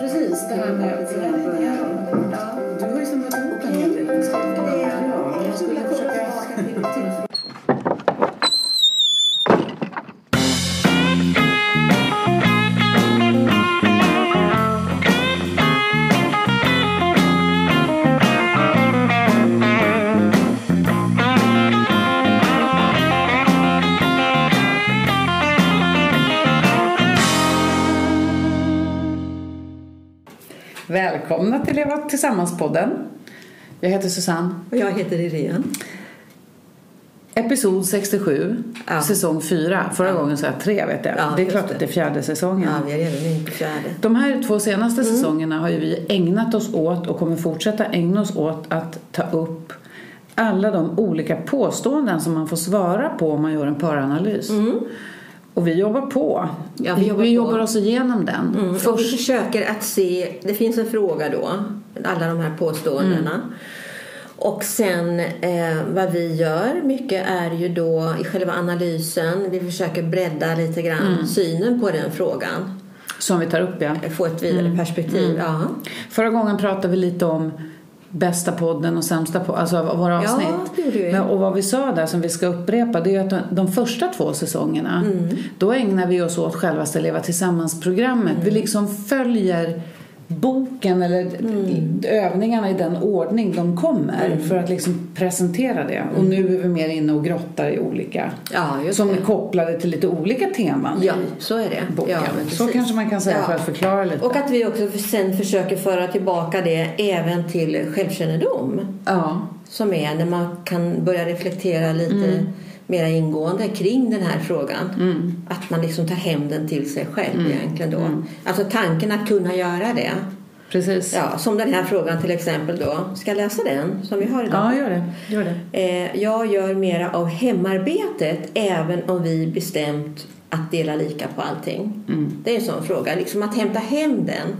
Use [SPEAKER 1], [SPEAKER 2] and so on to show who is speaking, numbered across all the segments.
[SPEAKER 1] han när jag började. Du har ju samlat ihop en hel del. Ska vi börja? Jag skulle försöka...
[SPEAKER 2] Välkomna till Leva Tillsammans-podden. Jag heter Susanne.
[SPEAKER 3] Och jag heter Irene.
[SPEAKER 2] Episod 67,
[SPEAKER 3] Ja.
[SPEAKER 2] säsong 4. Förra gången sa jag 3 vet jag.
[SPEAKER 3] Ja,
[SPEAKER 2] det är
[SPEAKER 3] just
[SPEAKER 2] klart att det är fjärde säsongen.
[SPEAKER 3] Ja, Mm. vi är redan inne på fjärde.
[SPEAKER 2] De här två senaste säsongerna har ju vi ägnat oss åt och kommer fortsätta ägna oss åt att ta upp alla de olika påståenden som man får svara på om man gör en paranalys. Och vi jobbar på.
[SPEAKER 3] Mm. Ja, vi jobbar på.
[SPEAKER 2] jobbar oss igenom den.
[SPEAKER 3] Och vi försöker att se, det finns en fråga då, alla de här påståendena.
[SPEAKER 2] Mm.
[SPEAKER 3] Och sen eh, vad vi gör mycket är ju då i själva analysen, vi försöker bredda lite grann
[SPEAKER 2] Mm.
[SPEAKER 3] synen på den frågan.
[SPEAKER 2] Som vi tar upp ja.
[SPEAKER 3] Få ett vidare
[SPEAKER 2] Mm.
[SPEAKER 3] perspektiv. Ja.
[SPEAKER 2] Förra gången pratade vi lite om bästa podden och sämsta podden, alltså av våra
[SPEAKER 3] Ja,
[SPEAKER 2] avsnitt.
[SPEAKER 3] det gjorde vi.
[SPEAKER 2] Men- och vad vi sa där som vi ska upprepa det är ju att de, de första två säsongerna
[SPEAKER 3] Mm.
[SPEAKER 2] då ägnar vi oss åt självaste Leva Tillsammans-programmet.
[SPEAKER 3] Mm.
[SPEAKER 2] Vi liksom följer boken eller
[SPEAKER 3] Mm.
[SPEAKER 2] övningarna i den ordning de kommer för att liksom presentera det. Och nu är vi mer inne och grottar i olika
[SPEAKER 3] ja, Mm. just
[SPEAKER 2] som är
[SPEAKER 3] det.
[SPEAKER 2] kopplade till lite olika teman
[SPEAKER 3] Ja,
[SPEAKER 2] i
[SPEAKER 3] så är det.
[SPEAKER 2] boken.
[SPEAKER 3] Ja, men
[SPEAKER 2] så
[SPEAKER 3] precis.
[SPEAKER 2] kanske man kan säga
[SPEAKER 3] Ja.
[SPEAKER 2] för att förklara lite.
[SPEAKER 3] Och att vi också sen försöker föra tillbaka det även till självkännedom.
[SPEAKER 2] ja.
[SPEAKER 3] som är när man kan börja reflektera lite mera ingående kring den här frågan. Att man liksom tar hem den till sig själv egentligen då. Alltså tanken att kunna göra det.
[SPEAKER 2] Precis.
[SPEAKER 3] Ja, som den här frågan till exempel då. Ska jag läsa den som vi har idag?
[SPEAKER 2] Ja, gör det. Gör det.
[SPEAKER 3] Eh, jag gör mera av hemarbetet även om vi bestämt att dela lika på allting. Det är en sån fråga. Liksom att hämta hem den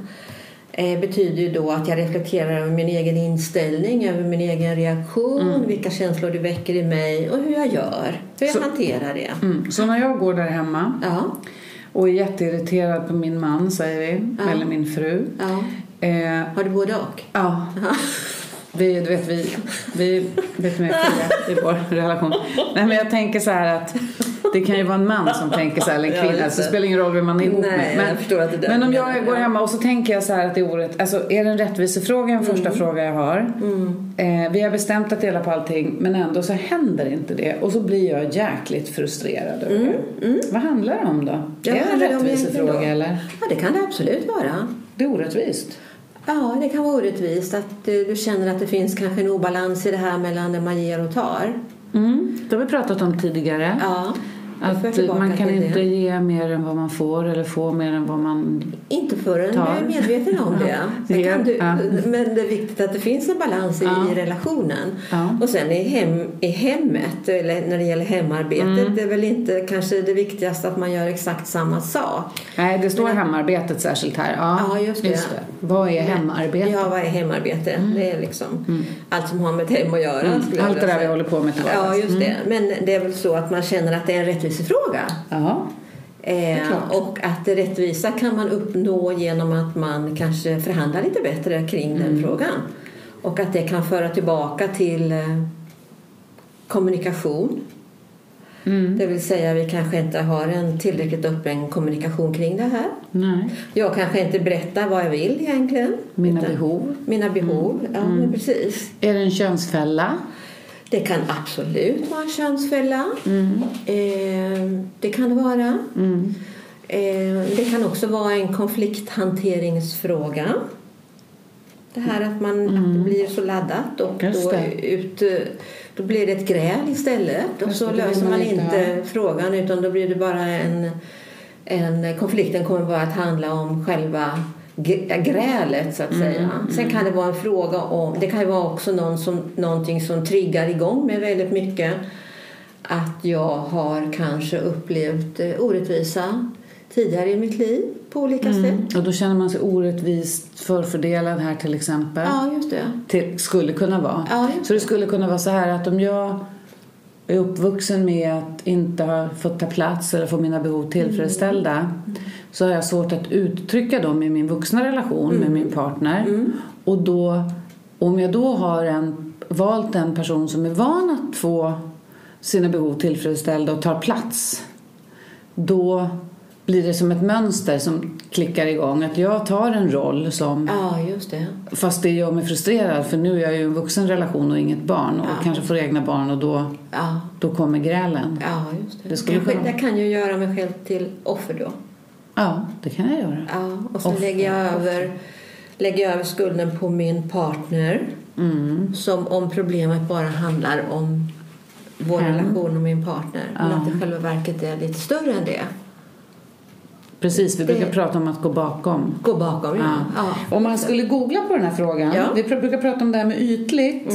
[SPEAKER 3] eh, betyder ju då att jag reflekterar över min egen inställning, över min egen reaktion, vilka känslor det väcker i mig och hur jag gör, hur jag
[SPEAKER 2] Så-
[SPEAKER 3] hanterar det.
[SPEAKER 2] Mm. Så när jag går där hemma
[SPEAKER 3] Ja,
[SPEAKER 2] och är jätteirriterad på min man, säger vi,
[SPEAKER 3] Ja.
[SPEAKER 2] eller min fru.
[SPEAKER 3] ja.
[SPEAKER 2] Eh,
[SPEAKER 3] Har du både och?
[SPEAKER 2] ja. Vi, du vet, vi, vi vet mer skilja i vår relation. Nej, men jag tänker så här att det kan ju vara en man som tänker så här, eller en
[SPEAKER 3] Ja,
[SPEAKER 2] kvinna.
[SPEAKER 3] just
[SPEAKER 2] så det
[SPEAKER 3] det.
[SPEAKER 2] spelar ingen roll vem man är ihop
[SPEAKER 3] Nej,
[SPEAKER 2] med.
[SPEAKER 3] jag förstår att det där-
[SPEAKER 2] men om
[SPEAKER 3] det där-
[SPEAKER 2] jag går
[SPEAKER 3] ja.
[SPEAKER 2] hemma och så tänker jag så här att det är orätt, alltså är det en rättvisefråga en första
[SPEAKER 3] Mm.
[SPEAKER 2] fråga jag har? Eh, vi har bestämt att dela på allting men ändå så händer inte det och så blir jag jäkligt frustrerad över det. Vad handlar det om då?
[SPEAKER 3] Mm, Ja,
[SPEAKER 2] är
[SPEAKER 3] vad
[SPEAKER 2] det en
[SPEAKER 3] handlar det om egentligen
[SPEAKER 2] rättvisefråga
[SPEAKER 3] då?
[SPEAKER 2] eller?
[SPEAKER 3] Ja, det kan det absolut vara.
[SPEAKER 2] Det är orättvist.
[SPEAKER 3] Ja, det kan vara orättvist att eh, du känner att det finns kanske en obalans i det här mellan det man ger och tar.
[SPEAKER 2] Mm. Det har vi pratat om tidigare.
[SPEAKER 3] Ja, jag för
[SPEAKER 2] Att
[SPEAKER 3] tillbaka
[SPEAKER 2] man kan
[SPEAKER 3] till det.
[SPEAKER 2] inte ge mer än vad man får eller få mer än vad man...
[SPEAKER 3] Inte förrän
[SPEAKER 2] Tar.
[SPEAKER 3] du är medveten om det. Sen
[SPEAKER 2] Ja.
[SPEAKER 3] kan du,
[SPEAKER 2] Ja.
[SPEAKER 3] Men det är viktigt att det finns en balans i,
[SPEAKER 2] Ja.
[SPEAKER 3] i relationen.
[SPEAKER 2] Ja.
[SPEAKER 3] Och sen i, hem, i hemmet, eller när det gäller hemarbetet,
[SPEAKER 2] Mm.
[SPEAKER 3] det är väl inte kanske det viktigaste att man gör exakt samma sak.
[SPEAKER 2] Nej, det står hemarbetet särskilt här. Ja,
[SPEAKER 3] Ja, just det.
[SPEAKER 2] Vad är hemarbete?
[SPEAKER 3] Ja, vad är hemarbete? Det är liksom allt som har med ett hem att göra.
[SPEAKER 2] Mm.
[SPEAKER 3] skulle jag
[SPEAKER 2] Allt
[SPEAKER 3] vilja
[SPEAKER 2] det där vi
[SPEAKER 3] säga.
[SPEAKER 2] håller på med Mm. till
[SPEAKER 3] Ja,
[SPEAKER 2] vardags.
[SPEAKER 3] just det. Men det är väl så att man känner att det är en rättvisefråga.
[SPEAKER 2] Ja. klart.
[SPEAKER 3] Eh, och att det rättvisa kan man uppnå genom att man kanske förhandlar lite bättre kring
[SPEAKER 2] Mm.
[SPEAKER 3] den frågan. Och att det kan föra tillbaka till eh, kommunikation.
[SPEAKER 2] Mm.
[SPEAKER 3] Det vill säga vi kanske inte har en tillräckligt öppen kommunikation kring det här.
[SPEAKER 2] Nej.
[SPEAKER 3] Jag kanske inte berättar vad jag vill egentligen.
[SPEAKER 2] Mina
[SPEAKER 3] Utan-
[SPEAKER 2] behov. Mm.
[SPEAKER 3] Mina behov, ja men precis.
[SPEAKER 2] Är det en könsfälla?
[SPEAKER 3] Det kan absolut vara en könsfälla. Eh, det kan det vara. Eh, det kan också vara en konflikthanteringsfråga. Det här att, man, att det blir så laddat och
[SPEAKER 2] Mm. Just
[SPEAKER 3] då,
[SPEAKER 2] det.
[SPEAKER 3] ut, då blir det ett gräl istället. Och
[SPEAKER 2] Just
[SPEAKER 3] så
[SPEAKER 2] det, det vill
[SPEAKER 3] löser man,
[SPEAKER 2] man inte
[SPEAKER 3] inte frågan utan då blir det bara en, en... Konflikten kommer bara att handla om själva gr- grälet så att
[SPEAKER 2] Mm,
[SPEAKER 3] säga. Sen kan det vara en fråga om... Det kan ju vara också någon som, någonting som triggar igång med väldigt mycket. Att jag har kanske upplevt eh, orättvisa tidigare i mitt liv på olika
[SPEAKER 2] Mm.
[SPEAKER 3] sätt.
[SPEAKER 2] Och då känner man sig orättvist förfördelad här till exempel.
[SPEAKER 3] Ja, just det.
[SPEAKER 2] Till, skulle kunna vara.
[SPEAKER 3] Ja, just
[SPEAKER 2] så det skulle kunna vara så här att om jag
[SPEAKER 3] Mm.
[SPEAKER 2] är uppvuxen med att inte ha fått ta plats eller få mina behov tillfredsställda så har jag svårt att uttrycka dem i min vuxna relation
[SPEAKER 3] Mm.
[SPEAKER 2] med min partner. Och då, om jag då har en, valt en person som är van att få sina behov tillfredsställda och tar plats då blir det som ett mönster som klickar igång. Att jag tar en roll som
[SPEAKER 3] Ja, just det.
[SPEAKER 2] Fast det gör mig frustrerad för nu är jag ju i en vuxen relation och inget barn och
[SPEAKER 3] Ja.
[SPEAKER 2] kanske får egna barn och då,
[SPEAKER 3] Ja,
[SPEAKER 2] då kommer grälen.
[SPEAKER 3] ja just det.
[SPEAKER 2] Det skulle
[SPEAKER 3] Kanske-
[SPEAKER 2] kunna-
[SPEAKER 3] jag kan ju göra mig själv till offer då.
[SPEAKER 2] Ja, det kan jag göra.
[SPEAKER 3] Ja, och sen
[SPEAKER 2] Offer,
[SPEAKER 3] lägger jag, över, lägger jag över skulden på min partner.
[SPEAKER 2] Mm.
[SPEAKER 3] Som om problemet bara handlar om vår
[SPEAKER 2] Hem.
[SPEAKER 3] relation och min partner. Men
[SPEAKER 2] Ja.
[SPEAKER 3] att det i själva verket är lite större än det.
[SPEAKER 2] Precis, vi
[SPEAKER 3] Det-
[SPEAKER 2] brukar prata om att gå bakom.
[SPEAKER 3] Gå bakom, ja. ja.
[SPEAKER 2] Om man skulle googla på den här frågan.
[SPEAKER 3] Ja.
[SPEAKER 2] Vi pr- brukar prata om det här med ytligt.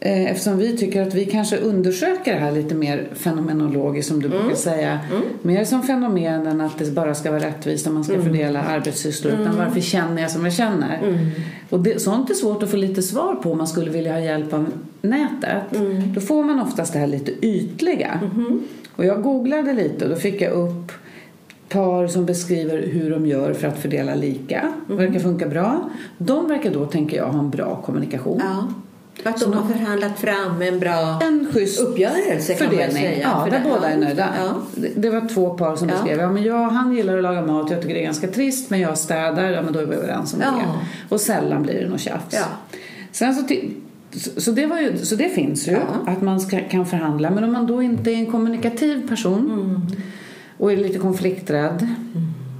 [SPEAKER 2] Eh, Eftersom vi tycker att vi kanske undersöker det här lite mer fenomenologiskt som du brukar säga. Mer som fenomen än att det bara ska vara rättvist när man ska fördela arbetssysslor. Utan varför känner jag som jag känner? Och det, sånt är svårt att få lite svar på om man skulle vilja ha hjälp av nätet. Då får man oftast det här lite ytliga. Och jag googlade lite och då fick jag upp par som beskriver hur de gör för att fördela lika.
[SPEAKER 3] Mm.
[SPEAKER 2] Verkar funka bra. De verkar då, tänker jag, ha en bra kommunikation.
[SPEAKER 3] ja. För att de har förhandlat fram en bra
[SPEAKER 2] En schysst
[SPEAKER 3] uppgörelse kan man väl
[SPEAKER 2] fördelning.
[SPEAKER 3] säga.
[SPEAKER 2] ja,
[SPEAKER 3] För
[SPEAKER 2] där
[SPEAKER 3] det-
[SPEAKER 2] båda är nöjda.
[SPEAKER 3] Ja.
[SPEAKER 2] Det- Det var två par som
[SPEAKER 3] Ja.
[SPEAKER 2] beskrev. Ja, men jag, han gillar att laga mat. Jag tycker det är ganska trist. Men jag städar. Ja, men då är vi överens om
[SPEAKER 3] Ja.
[SPEAKER 2] det. Och sällan blir det något tjafs.
[SPEAKER 3] Ja.
[SPEAKER 2] Sen så, ti- så, så, det var ju, så det finns ju.
[SPEAKER 3] Ja.
[SPEAKER 2] Att man ska, kan förhandla. Men om man då inte är en kommunikativ person.
[SPEAKER 3] Mm.
[SPEAKER 2] Och är lite konflikträdd.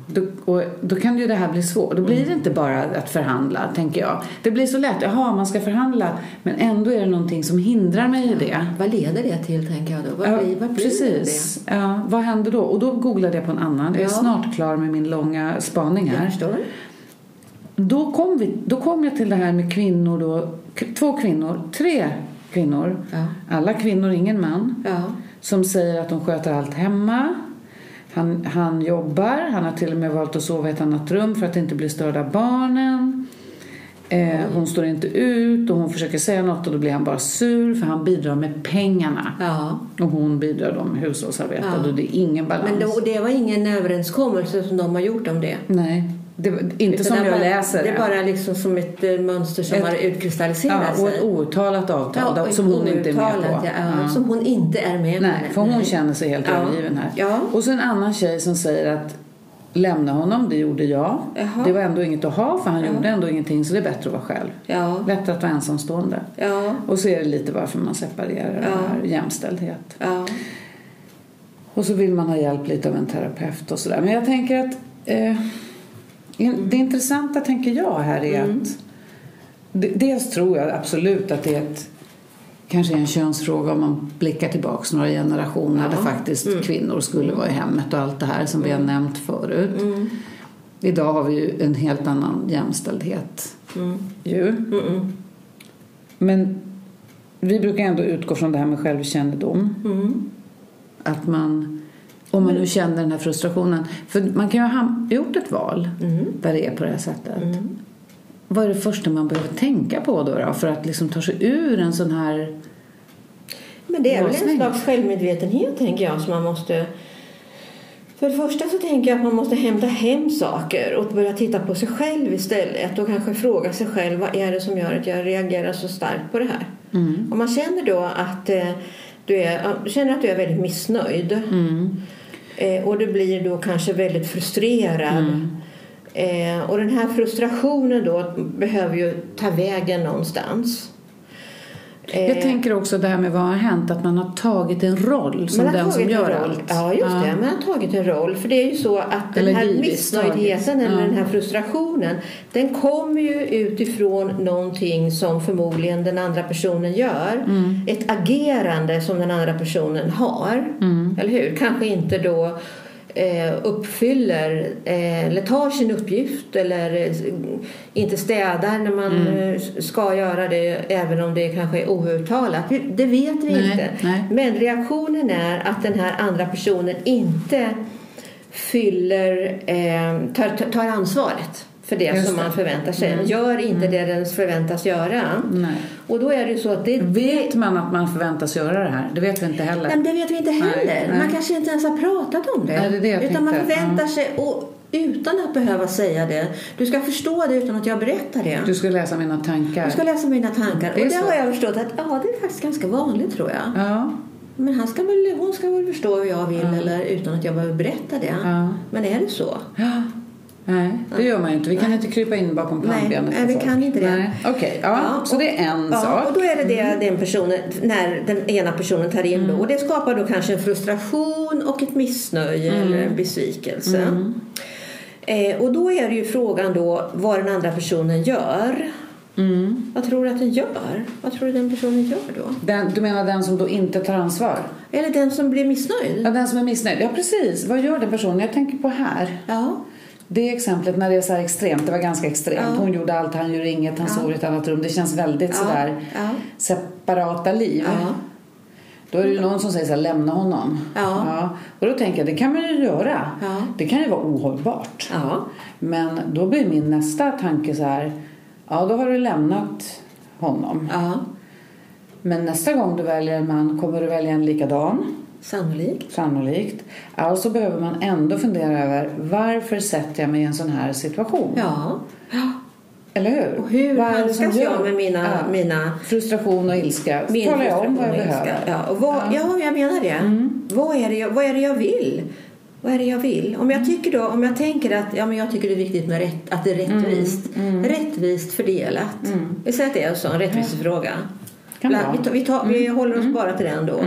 [SPEAKER 2] Då, och då kan ju det här bli svårt. Då blir det
[SPEAKER 3] Mm.
[SPEAKER 2] inte bara att förhandla, tänker jag. Det blir så lätt. Jaha, man ska förhandla. Men ändå är det någonting som hindrar mig i det.
[SPEAKER 3] Vad leder det till, tänker jag då? Vad
[SPEAKER 2] Ja,
[SPEAKER 3] blir, vad blir det?
[SPEAKER 2] precis. Ja, vad hände då? Och då googlade jag på en annan. Jag är
[SPEAKER 3] Ja.
[SPEAKER 2] snart klar med min långa spaning
[SPEAKER 3] Jag
[SPEAKER 2] här.
[SPEAKER 3] förstår.
[SPEAKER 2] Då kom, vi, då kom jag till det här med kvinnor då. K- Två kvinnor, tre kvinnor.
[SPEAKER 3] Ja.
[SPEAKER 2] Alla kvinnor, ingen man.
[SPEAKER 3] Ja.
[SPEAKER 2] Som säger att de sköter allt hemma. Han, han jobbar, han har till och med valt att sova i ett annat rum för att inte bli störd av barnen. Eh,
[SPEAKER 3] Mm.
[SPEAKER 2] hon står inte ut och hon försöker säga något och då blir han bara sur för han bidrar med pengarna.
[SPEAKER 3] ja.
[SPEAKER 2] Och hon bidrar då med hushållsarbete och det är ingen balans.
[SPEAKER 3] Men då, det var ingen överenskommelse som de har gjort om det?
[SPEAKER 2] Nej, det, var- inte
[SPEAKER 3] Utan
[SPEAKER 2] som
[SPEAKER 3] det
[SPEAKER 2] jag
[SPEAKER 3] bara,
[SPEAKER 2] läser
[SPEAKER 3] det. är bara liksom som ett eh, mönster som
[SPEAKER 2] Ett-
[SPEAKER 3] har utkristalliserat
[SPEAKER 2] ja, och ett
[SPEAKER 3] sig.
[SPEAKER 2] outtalat avtal
[SPEAKER 3] Ja,
[SPEAKER 2] där- som hon inte är med
[SPEAKER 3] outtalat,
[SPEAKER 2] på.
[SPEAKER 3] Ja,
[SPEAKER 2] Ja.
[SPEAKER 3] Som hon inte är med
[SPEAKER 2] Nej, för hon
[SPEAKER 3] Nej.
[SPEAKER 2] känner sig helt
[SPEAKER 3] Ja.
[SPEAKER 2] övergiven här.
[SPEAKER 3] Ja.
[SPEAKER 2] Och så en annan tjej som säger att lämna honom, det gjorde jag.
[SPEAKER 3] Jaha.
[SPEAKER 2] Det var ändå inget att ha för han gjorde ändå ingenting så det är bättre att vara själv.
[SPEAKER 3] Ja,
[SPEAKER 2] Lättare att vara ensamstående.
[SPEAKER 3] ja,
[SPEAKER 2] Och så är det lite varför man separerar
[SPEAKER 3] Ja.
[SPEAKER 2] det här, jämställdhet.
[SPEAKER 3] ja.
[SPEAKER 2] Och så vill man ha hjälp lite av en terapeut och sådär. Men jag tänker att eh, in- det intressanta tänker jag här är att de- dels tror jag absolut att det är ett, kanske är en könsfråga om man blickar tillbaks några generationer där faktiskt kvinnor skulle vara i hemmet och allt det här som vi har nämnt förut.
[SPEAKER 3] Mm.
[SPEAKER 2] Idag har vi ju en helt annan jämställdhet
[SPEAKER 3] Mm.
[SPEAKER 2] ju. Men vi brukar ändå utgå från det här med självkännedom
[SPEAKER 3] Mm.
[SPEAKER 2] att man om man nu känner den här frustrationen. För man kan ju ha ham- gjort ett val
[SPEAKER 3] Mm.
[SPEAKER 2] där det är på det här sättet. Vad är det första man behöver tänka på då, då för att liksom ta sig ur en sån här...
[SPEAKER 3] Men det är väl en
[SPEAKER 2] Låsning.
[SPEAKER 3] slags självmedvetenhet tänker jag som man måste... För det första så tänker jag att man måste hämta hem saker och börja titta på sig själv istället och kanske fråga sig själv vad är det som gör att jag reagerar så starkt på det här. Om man känner då att eh, du är, känner att du är väldigt missnöjd Eh, och du blir då kanske väldigt frustrerad. Eh, och den här frustrationen då behöver ju ta vägen någonstans. Eh,
[SPEAKER 2] Jag tänker också det här med vad har hänt, att man har tagit en roll som
[SPEAKER 3] man har
[SPEAKER 2] den som
[SPEAKER 3] tagit
[SPEAKER 2] gör
[SPEAKER 3] en roll.
[SPEAKER 2] allt.
[SPEAKER 3] Ja, just det. Man har tagit en roll. För det är ju så att den
[SPEAKER 2] Eller
[SPEAKER 3] här
[SPEAKER 2] givetvis
[SPEAKER 3] missnöjdheten
[SPEAKER 2] tagit.
[SPEAKER 3] eller
[SPEAKER 2] Ja.
[SPEAKER 3] den här frustrationen den kommer ju utifrån någonting som förmodligen den andra personen gör.
[SPEAKER 2] Mm.
[SPEAKER 3] Ett agerande som den andra personen har.
[SPEAKER 2] Mm.
[SPEAKER 3] Eller hur? Kanske inte då eh, uppfyller eh, eller tar sin uppgift eller eh, inte städar när man
[SPEAKER 2] Mm.
[SPEAKER 3] eh, ska göra det även om det kanske är outtalat. Det vet vi
[SPEAKER 2] Nej,
[SPEAKER 3] inte.
[SPEAKER 2] nej.
[SPEAKER 3] Men reaktionen är att den här andra personen inte fyller, eh, tar, tar ansvaret för det
[SPEAKER 2] Just
[SPEAKER 3] som
[SPEAKER 2] det. Mm.
[SPEAKER 3] man förväntar sig. Gör inte det den förväntas göra.
[SPEAKER 2] Nej.
[SPEAKER 3] Och då är det ju så att det,
[SPEAKER 2] Vet man att man förväntas göra det här? Det vet vi inte heller.
[SPEAKER 3] Nej, men det vet vi inte heller.
[SPEAKER 2] Nej, nej.
[SPEAKER 3] Man kanske inte ens har pratat om det.
[SPEAKER 2] Nej, det är det jag
[SPEAKER 3] utan man
[SPEAKER 2] tänkte.
[SPEAKER 3] förväntar sig och utan att behöva säga det. Du ska förstå det utan att jag berättar det.
[SPEAKER 2] Du ska läsa mina tankar.
[SPEAKER 3] Du ska läsa mina tankar.
[SPEAKER 2] Det är
[SPEAKER 3] och det
[SPEAKER 2] så.
[SPEAKER 3] har jag förstått att ja, det är faktiskt ganska vanligt tror jag.
[SPEAKER 2] Ja.
[SPEAKER 3] Men han ska väl, hon ska väl förstå hur jag vill eller utan att jag behöver berätta det.
[SPEAKER 2] Ja.
[SPEAKER 3] Men är det så?
[SPEAKER 2] Ja. Nej, det gör man ju inte. Vi kan inte krypa in bakom pannbenet.
[SPEAKER 3] nej,
[SPEAKER 2] på
[SPEAKER 3] vi
[SPEAKER 2] folk.
[SPEAKER 3] kan inte det.
[SPEAKER 2] Nej. Okej, ja,
[SPEAKER 3] och-
[SPEAKER 2] så det är en
[SPEAKER 3] ja,
[SPEAKER 2] sak.
[SPEAKER 3] Och då är det det den personen, när den ena personen tar in då. Och det skapar då kanske en frustration och ett missnöje eller en besvikelse. Eh, och då är det ju frågan då vad den andra personen gör. Vad tror du att den gör? Vad tror du den personen gör då?
[SPEAKER 2] Den, du menar den som då inte tar ansvar?
[SPEAKER 3] Eller den som blir missnöjd?
[SPEAKER 2] Ja, den som är missnöjd. Ja, precis. Vad gör den personen? Jag tänker på här.
[SPEAKER 3] Ja.
[SPEAKER 2] Det exemplet när det är så här extremt, det var ganska extremt. Hon gjorde allt, han gjorde inget, han sov i ett annat rum. Det känns väldigt
[SPEAKER 3] Ja,
[SPEAKER 2] sådär
[SPEAKER 3] ja.
[SPEAKER 2] separata liv.
[SPEAKER 3] Ja.
[SPEAKER 2] Då är det ju någon som säger så här, lämna honom.
[SPEAKER 3] Ja.
[SPEAKER 2] Och då tänker jag, det kan man ju göra.
[SPEAKER 3] Ja.
[SPEAKER 2] Det kan ju vara ohållbart.
[SPEAKER 3] Ja.
[SPEAKER 2] Men då blir min nästa tanke så här, ja då har du lämnat honom.
[SPEAKER 3] ja.
[SPEAKER 2] Men nästa gång du väljer en man kommer du välja en likadan.
[SPEAKER 3] Sannolikt.
[SPEAKER 2] Sannolikt. Alltså behöver man ändå fundera över varför sätter jag mig i en sån här situation?
[SPEAKER 3] Ja.
[SPEAKER 2] Eller hur?
[SPEAKER 3] Och hur
[SPEAKER 2] Vad är det som
[SPEAKER 3] handskas jag
[SPEAKER 2] gör-
[SPEAKER 3] med mina,
[SPEAKER 2] Ja.
[SPEAKER 3] mina
[SPEAKER 2] Frustration och ilska.
[SPEAKER 3] Min
[SPEAKER 2] Talar jag om vad jag
[SPEAKER 3] frustration och
[SPEAKER 2] behöver?
[SPEAKER 3] ilska. Ja, och vad, ja. jag menar det.
[SPEAKER 2] Mm.
[SPEAKER 3] Vad, är det jag, vad är det jag vill? Vad är det jag vill?
[SPEAKER 2] Mm.
[SPEAKER 3] Om jag, tycker då, om jag tänker att ja, men jag tycker det är viktigt med rätt, att det är
[SPEAKER 2] Mm.
[SPEAKER 3] rättvist. Rättvist fördelat. Vi säger att det är en sån rättvisefråga.
[SPEAKER 2] Kan
[SPEAKER 3] Bland-
[SPEAKER 2] vara. Mm.
[SPEAKER 3] vi, tar, vi, tar, vi håller oss bara till den då.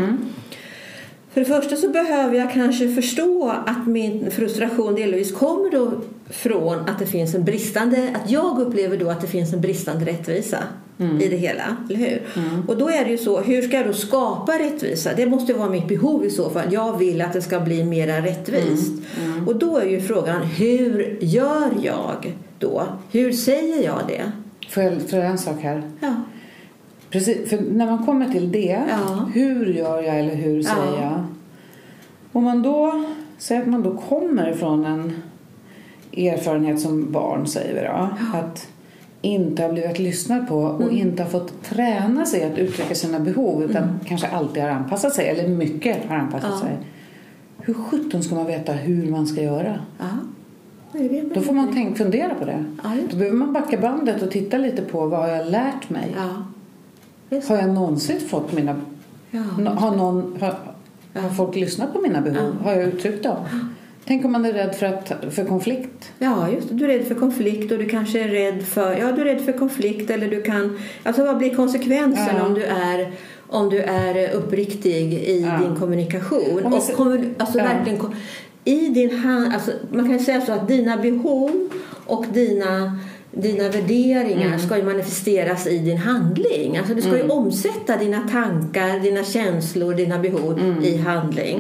[SPEAKER 3] För det första så behöver jag kanske förstå att min frustration delvis kommer då från att det finns en bristande, att jag upplever då att det finns en bristande rättvisa
[SPEAKER 2] Mm.
[SPEAKER 3] i det hela, eller hur? Och då är det ju så, hur ska jag då skapa rättvisa? Det måste vara mitt behov i så fall. Jag vill att det ska bli mera rättvist.
[SPEAKER 2] Mm.
[SPEAKER 3] Och då är ju frågan, hur gör jag då? Hur säger jag det?
[SPEAKER 2] Får jag för en sak här?
[SPEAKER 3] Ja,
[SPEAKER 2] Precis, för när man kommer till det,
[SPEAKER 3] Ja.
[SPEAKER 2] hur gör jag eller hur
[SPEAKER 3] Ja.
[SPEAKER 2] säger jag? Om man då, säger att man då kommer från en erfarenhet som barn säger vi då, att inte ha blivit lyssnad på och
[SPEAKER 3] Mm.
[SPEAKER 2] inte ha fått träna sig att uttrycka sina behov utan kanske alltid har anpassat sig eller mycket har anpassat sig. Hur sjutton ska man veta hur man ska göra?
[SPEAKER 3] ja. Nej, det vet man
[SPEAKER 2] Då får man tänk, fundera på det.
[SPEAKER 3] Ja, just det.
[SPEAKER 2] Då behöver man backa bandet och titta lite på vad har jag lärt mig?
[SPEAKER 3] Ja. Just
[SPEAKER 2] Har jag någonsin fått mina...
[SPEAKER 3] Ja.
[SPEAKER 2] Nå- Har, någon, har, har folk lyssnat på mina behov? Har jag uttryckt dem? Tänk om man är rädd för, att, för konflikt?
[SPEAKER 3] Ja, just det. Du är rädd för konflikt och du kanske är rädd för... Ja, du är rädd för konflikt eller du kan... Alltså vad blir konsekvensen
[SPEAKER 2] Ja.
[SPEAKER 3] om du är om du är uppriktig i
[SPEAKER 2] Ja.
[SPEAKER 3] din kommunikation?
[SPEAKER 2] Om
[SPEAKER 3] Och
[SPEAKER 2] man ser-
[SPEAKER 3] kommun, alltså
[SPEAKER 2] Ja.
[SPEAKER 3] verkligen kom- i din hand, alltså man kan säga så att dina behov och dina, dina värderingar
[SPEAKER 2] Mm.
[SPEAKER 3] ska ju manifesteras i din handling. Alltså du ska ju omsätta dina tankar, dina känslor, dina behov
[SPEAKER 2] Mm.
[SPEAKER 3] i handling.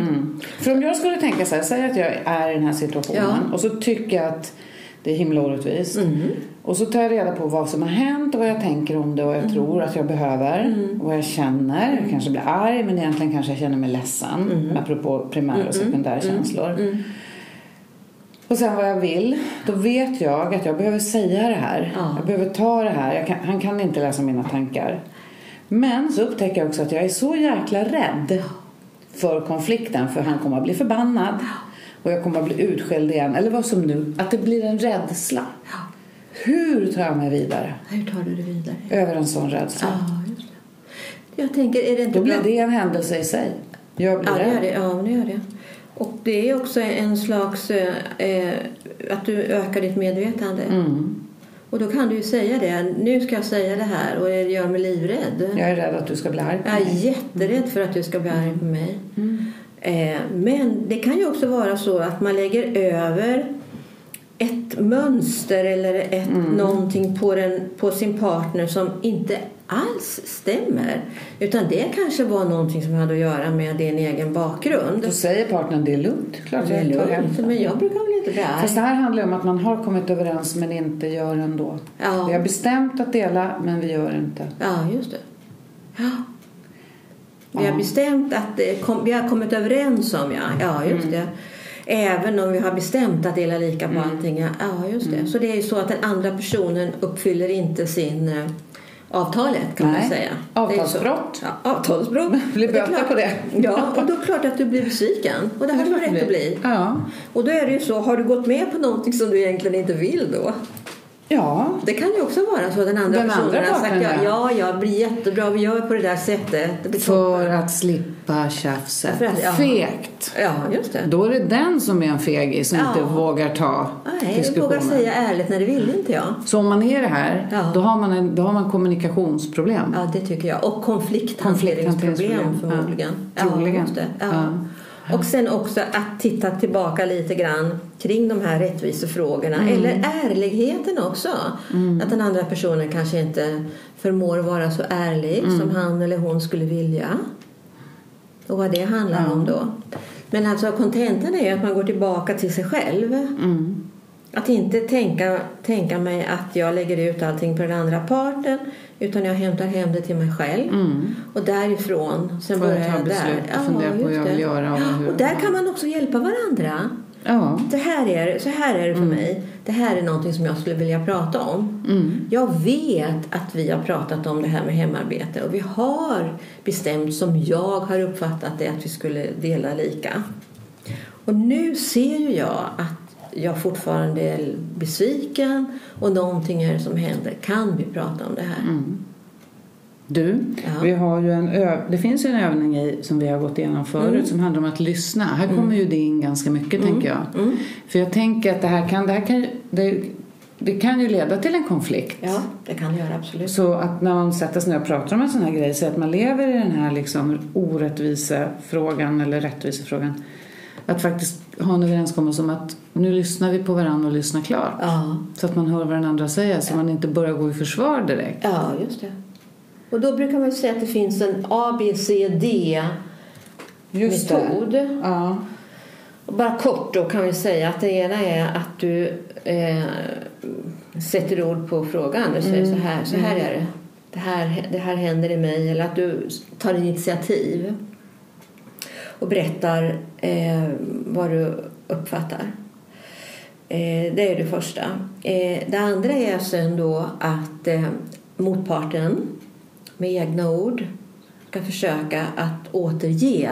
[SPEAKER 2] För om jag skulle tänka så här, säg att jag är i den här situationen
[SPEAKER 3] Ja. Mm.
[SPEAKER 2] och så tycker jag att det är himla orättvist. Och så tar jag reda på vad som har hänt och vad jag tänker om det och vad jag tror att jag behöver och vad jag känner. Jag kanske blir arg men egentligen kanske jag känner mig ledsen apropå primära och sekundärkänslor. Och sen vad jag vill, då vet jag att jag behöver säga det här.
[SPEAKER 3] Ja.
[SPEAKER 2] Jag behöver ta det här. Jag kan, han kan inte läsa mina tankar. Men så upptäcker jag också att jag är så jäkla rädd för konflikten för han kommer att bli förbannad och jag kommer att bli utskälld igen. Eller vad som nu, att det blir en rädsla. Hur tar jag mig vidare
[SPEAKER 3] Hur tar du det vidare?
[SPEAKER 2] över en sån rädsla?
[SPEAKER 3] Ja, just det. Jag tänker, är det inte
[SPEAKER 2] Då blir
[SPEAKER 3] bra?
[SPEAKER 2] det en händelse i sig. Jag blir
[SPEAKER 3] Ja, det gör
[SPEAKER 2] rädd.
[SPEAKER 3] det. Ja, det gör det. Och det är också en slags eh, eh, att du ökar ditt medvetande.
[SPEAKER 2] Mm.
[SPEAKER 3] Och då kan du ju säga det. Nu ska jag säga det här och det gör mig livrädd.
[SPEAKER 2] Jag är rädd att du ska bli arg på
[SPEAKER 3] Jag är
[SPEAKER 2] mig.
[SPEAKER 3] jätterädd för att du ska bli arg på mig. Eh, men det kan ju också vara så att man lägger över ett mönster eller ett, någonting på, den, på sin partner som inte alls stämmer. Utan det kanske var någonting som hade att göra med din egen bakgrund.
[SPEAKER 2] Då säger partnern det är lugnt. Klart
[SPEAKER 3] Det är
[SPEAKER 2] jag tar
[SPEAKER 3] lugnt,
[SPEAKER 2] hänsyn.
[SPEAKER 3] men jag brukar väl inte bli arg.
[SPEAKER 2] Fast det här handlar ju om att man har kommit överens men inte gör ändå.
[SPEAKER 3] Ja.
[SPEAKER 2] Vi har bestämt att dela men vi gör inte.
[SPEAKER 3] Ja, just det. Ja. Vi
[SPEAKER 2] Ja.
[SPEAKER 3] har bestämt att det kom, vi har kommit överens om, ja, ja just
[SPEAKER 2] Mm.
[SPEAKER 3] det. Även om vi har bestämt att dela lika
[SPEAKER 2] Mm.
[SPEAKER 3] på allting. Ja, ja just det. Så det är ju så att den andra personen uppfyller inte sin eh, avtalet kan
[SPEAKER 2] Nej.
[SPEAKER 3] man säga.
[SPEAKER 2] Avtalsbrott.
[SPEAKER 3] Det är ju så. Ja, avtalsbrott.
[SPEAKER 2] Blir
[SPEAKER 3] Och det är
[SPEAKER 2] böter
[SPEAKER 3] klart-
[SPEAKER 2] på det.
[SPEAKER 3] Ja, och då är det klart att du blir besviken. Och det har du rätt att bli.
[SPEAKER 2] Ja.
[SPEAKER 3] Och då är det ju så, har du gått med på någonting som du egentligen inte vill då?
[SPEAKER 2] ja.
[SPEAKER 3] Det kan ju också vara så. Den andra
[SPEAKER 2] Den
[SPEAKER 3] personen
[SPEAKER 2] andra
[SPEAKER 3] har sagt
[SPEAKER 2] parten,
[SPEAKER 3] ja,
[SPEAKER 2] ja.
[SPEAKER 3] ja, ja, det blir jättebra, vi gör på det där sättet. Det blir
[SPEAKER 2] För
[SPEAKER 3] toppen.
[SPEAKER 2] att slippa tjafset.
[SPEAKER 3] För att- ja.
[SPEAKER 2] Fegt.
[SPEAKER 3] Ja, just det.
[SPEAKER 2] Då är det den som är en fegis som
[SPEAKER 3] Ja.
[SPEAKER 2] inte vågar ta
[SPEAKER 3] Nej, jag
[SPEAKER 2] diskussionen.
[SPEAKER 3] vågar säga ärligt när det vill inte jag.
[SPEAKER 2] Så om man är det här,
[SPEAKER 3] Ja.
[SPEAKER 2] då, har man en, då har man kommunikationsproblem.
[SPEAKER 3] Ja, det tycker jag. Och konflikthanteringsproblem
[SPEAKER 2] Konflikthanteringsproblem,
[SPEAKER 3] förmodligen.
[SPEAKER 2] ja. Troligen.
[SPEAKER 3] just det.
[SPEAKER 2] Ja.
[SPEAKER 3] Ja. Och sen också att titta tillbaka lite grann kring de här rättvisefrågorna.
[SPEAKER 2] Mm.
[SPEAKER 3] Eller ärligheten också. Att den andra personen kanske inte förmår vara så ärlig
[SPEAKER 2] Mm.
[SPEAKER 3] som han eller hon skulle vilja. Och vad det handlar om då. Men alltså kontentan är ju att man går tillbaka till sig själv.
[SPEAKER 2] Mm.
[SPEAKER 3] Att inte tänka, tänka mig att jag lägger ut allting på den andra parten utan jag hämtar hem det till mig själv.
[SPEAKER 2] Mm.
[SPEAKER 3] Och därifrån sen
[SPEAKER 2] Får jag
[SPEAKER 3] börjar
[SPEAKER 2] ta
[SPEAKER 3] jag
[SPEAKER 2] beslut
[SPEAKER 3] där.
[SPEAKER 2] och fundera på vad
[SPEAKER 3] just
[SPEAKER 2] jag
[SPEAKER 3] det.
[SPEAKER 2] vill göra och hur-
[SPEAKER 3] och där kan man också hjälpa varandra.
[SPEAKER 2] Ja.
[SPEAKER 3] Det här är, så här är det för mig. Det här är någonting som jag skulle vilja prata om.
[SPEAKER 2] Mm.
[SPEAKER 3] Jag vet att vi har pratat om det här med hemarbete och vi har bestämt som jag har uppfattat det att vi skulle dela lika. Och nu ser ju jag att jag fortfarande är besviken och någonting är det som händer. Kan vi prata om det här?
[SPEAKER 2] Mm. Du,
[SPEAKER 3] Ja.
[SPEAKER 2] vi har ju en ö- det finns ju en övning i, som vi har gått igenom förut
[SPEAKER 3] Mm.
[SPEAKER 2] som handlar om att lyssna. Här kommer ju det in ganska mycket tänker jag.
[SPEAKER 3] Mm.
[SPEAKER 2] För jag tänker att det här kan, det här kan, ju- det, det kan ju leda till en konflikt.
[SPEAKER 3] Ja, det kan jag göra absolut.
[SPEAKER 2] Så att när man sätter sig ner och pratar om en sån här grej så att man lever i den här liksom orättvisa frågan eller rättvisefrågan. Att faktiskt ha en överenskommelse om att nu lyssnar vi på varandra och lyssnar klart.
[SPEAKER 3] Ja.
[SPEAKER 2] Så att man hör vad den andra säger så man inte börjar gå i försvar direkt.
[SPEAKER 3] Ja, just det. Och då brukar man ju säga att det finns en A, B, C,
[SPEAKER 2] det.
[SPEAKER 3] D-metod.
[SPEAKER 2] Ja.
[SPEAKER 3] Och Bara kort då kan vi säga att det ena är att du eh, sätter ord på frågan. Du säger så här, så här är det. Det här, det här händer i mig. Eller att du tar initiativ och berättar eh, vad du uppfattar. Eh, det är det första. Eh, det andra är sen då att eh, motparten med egna ord ska försöka att återge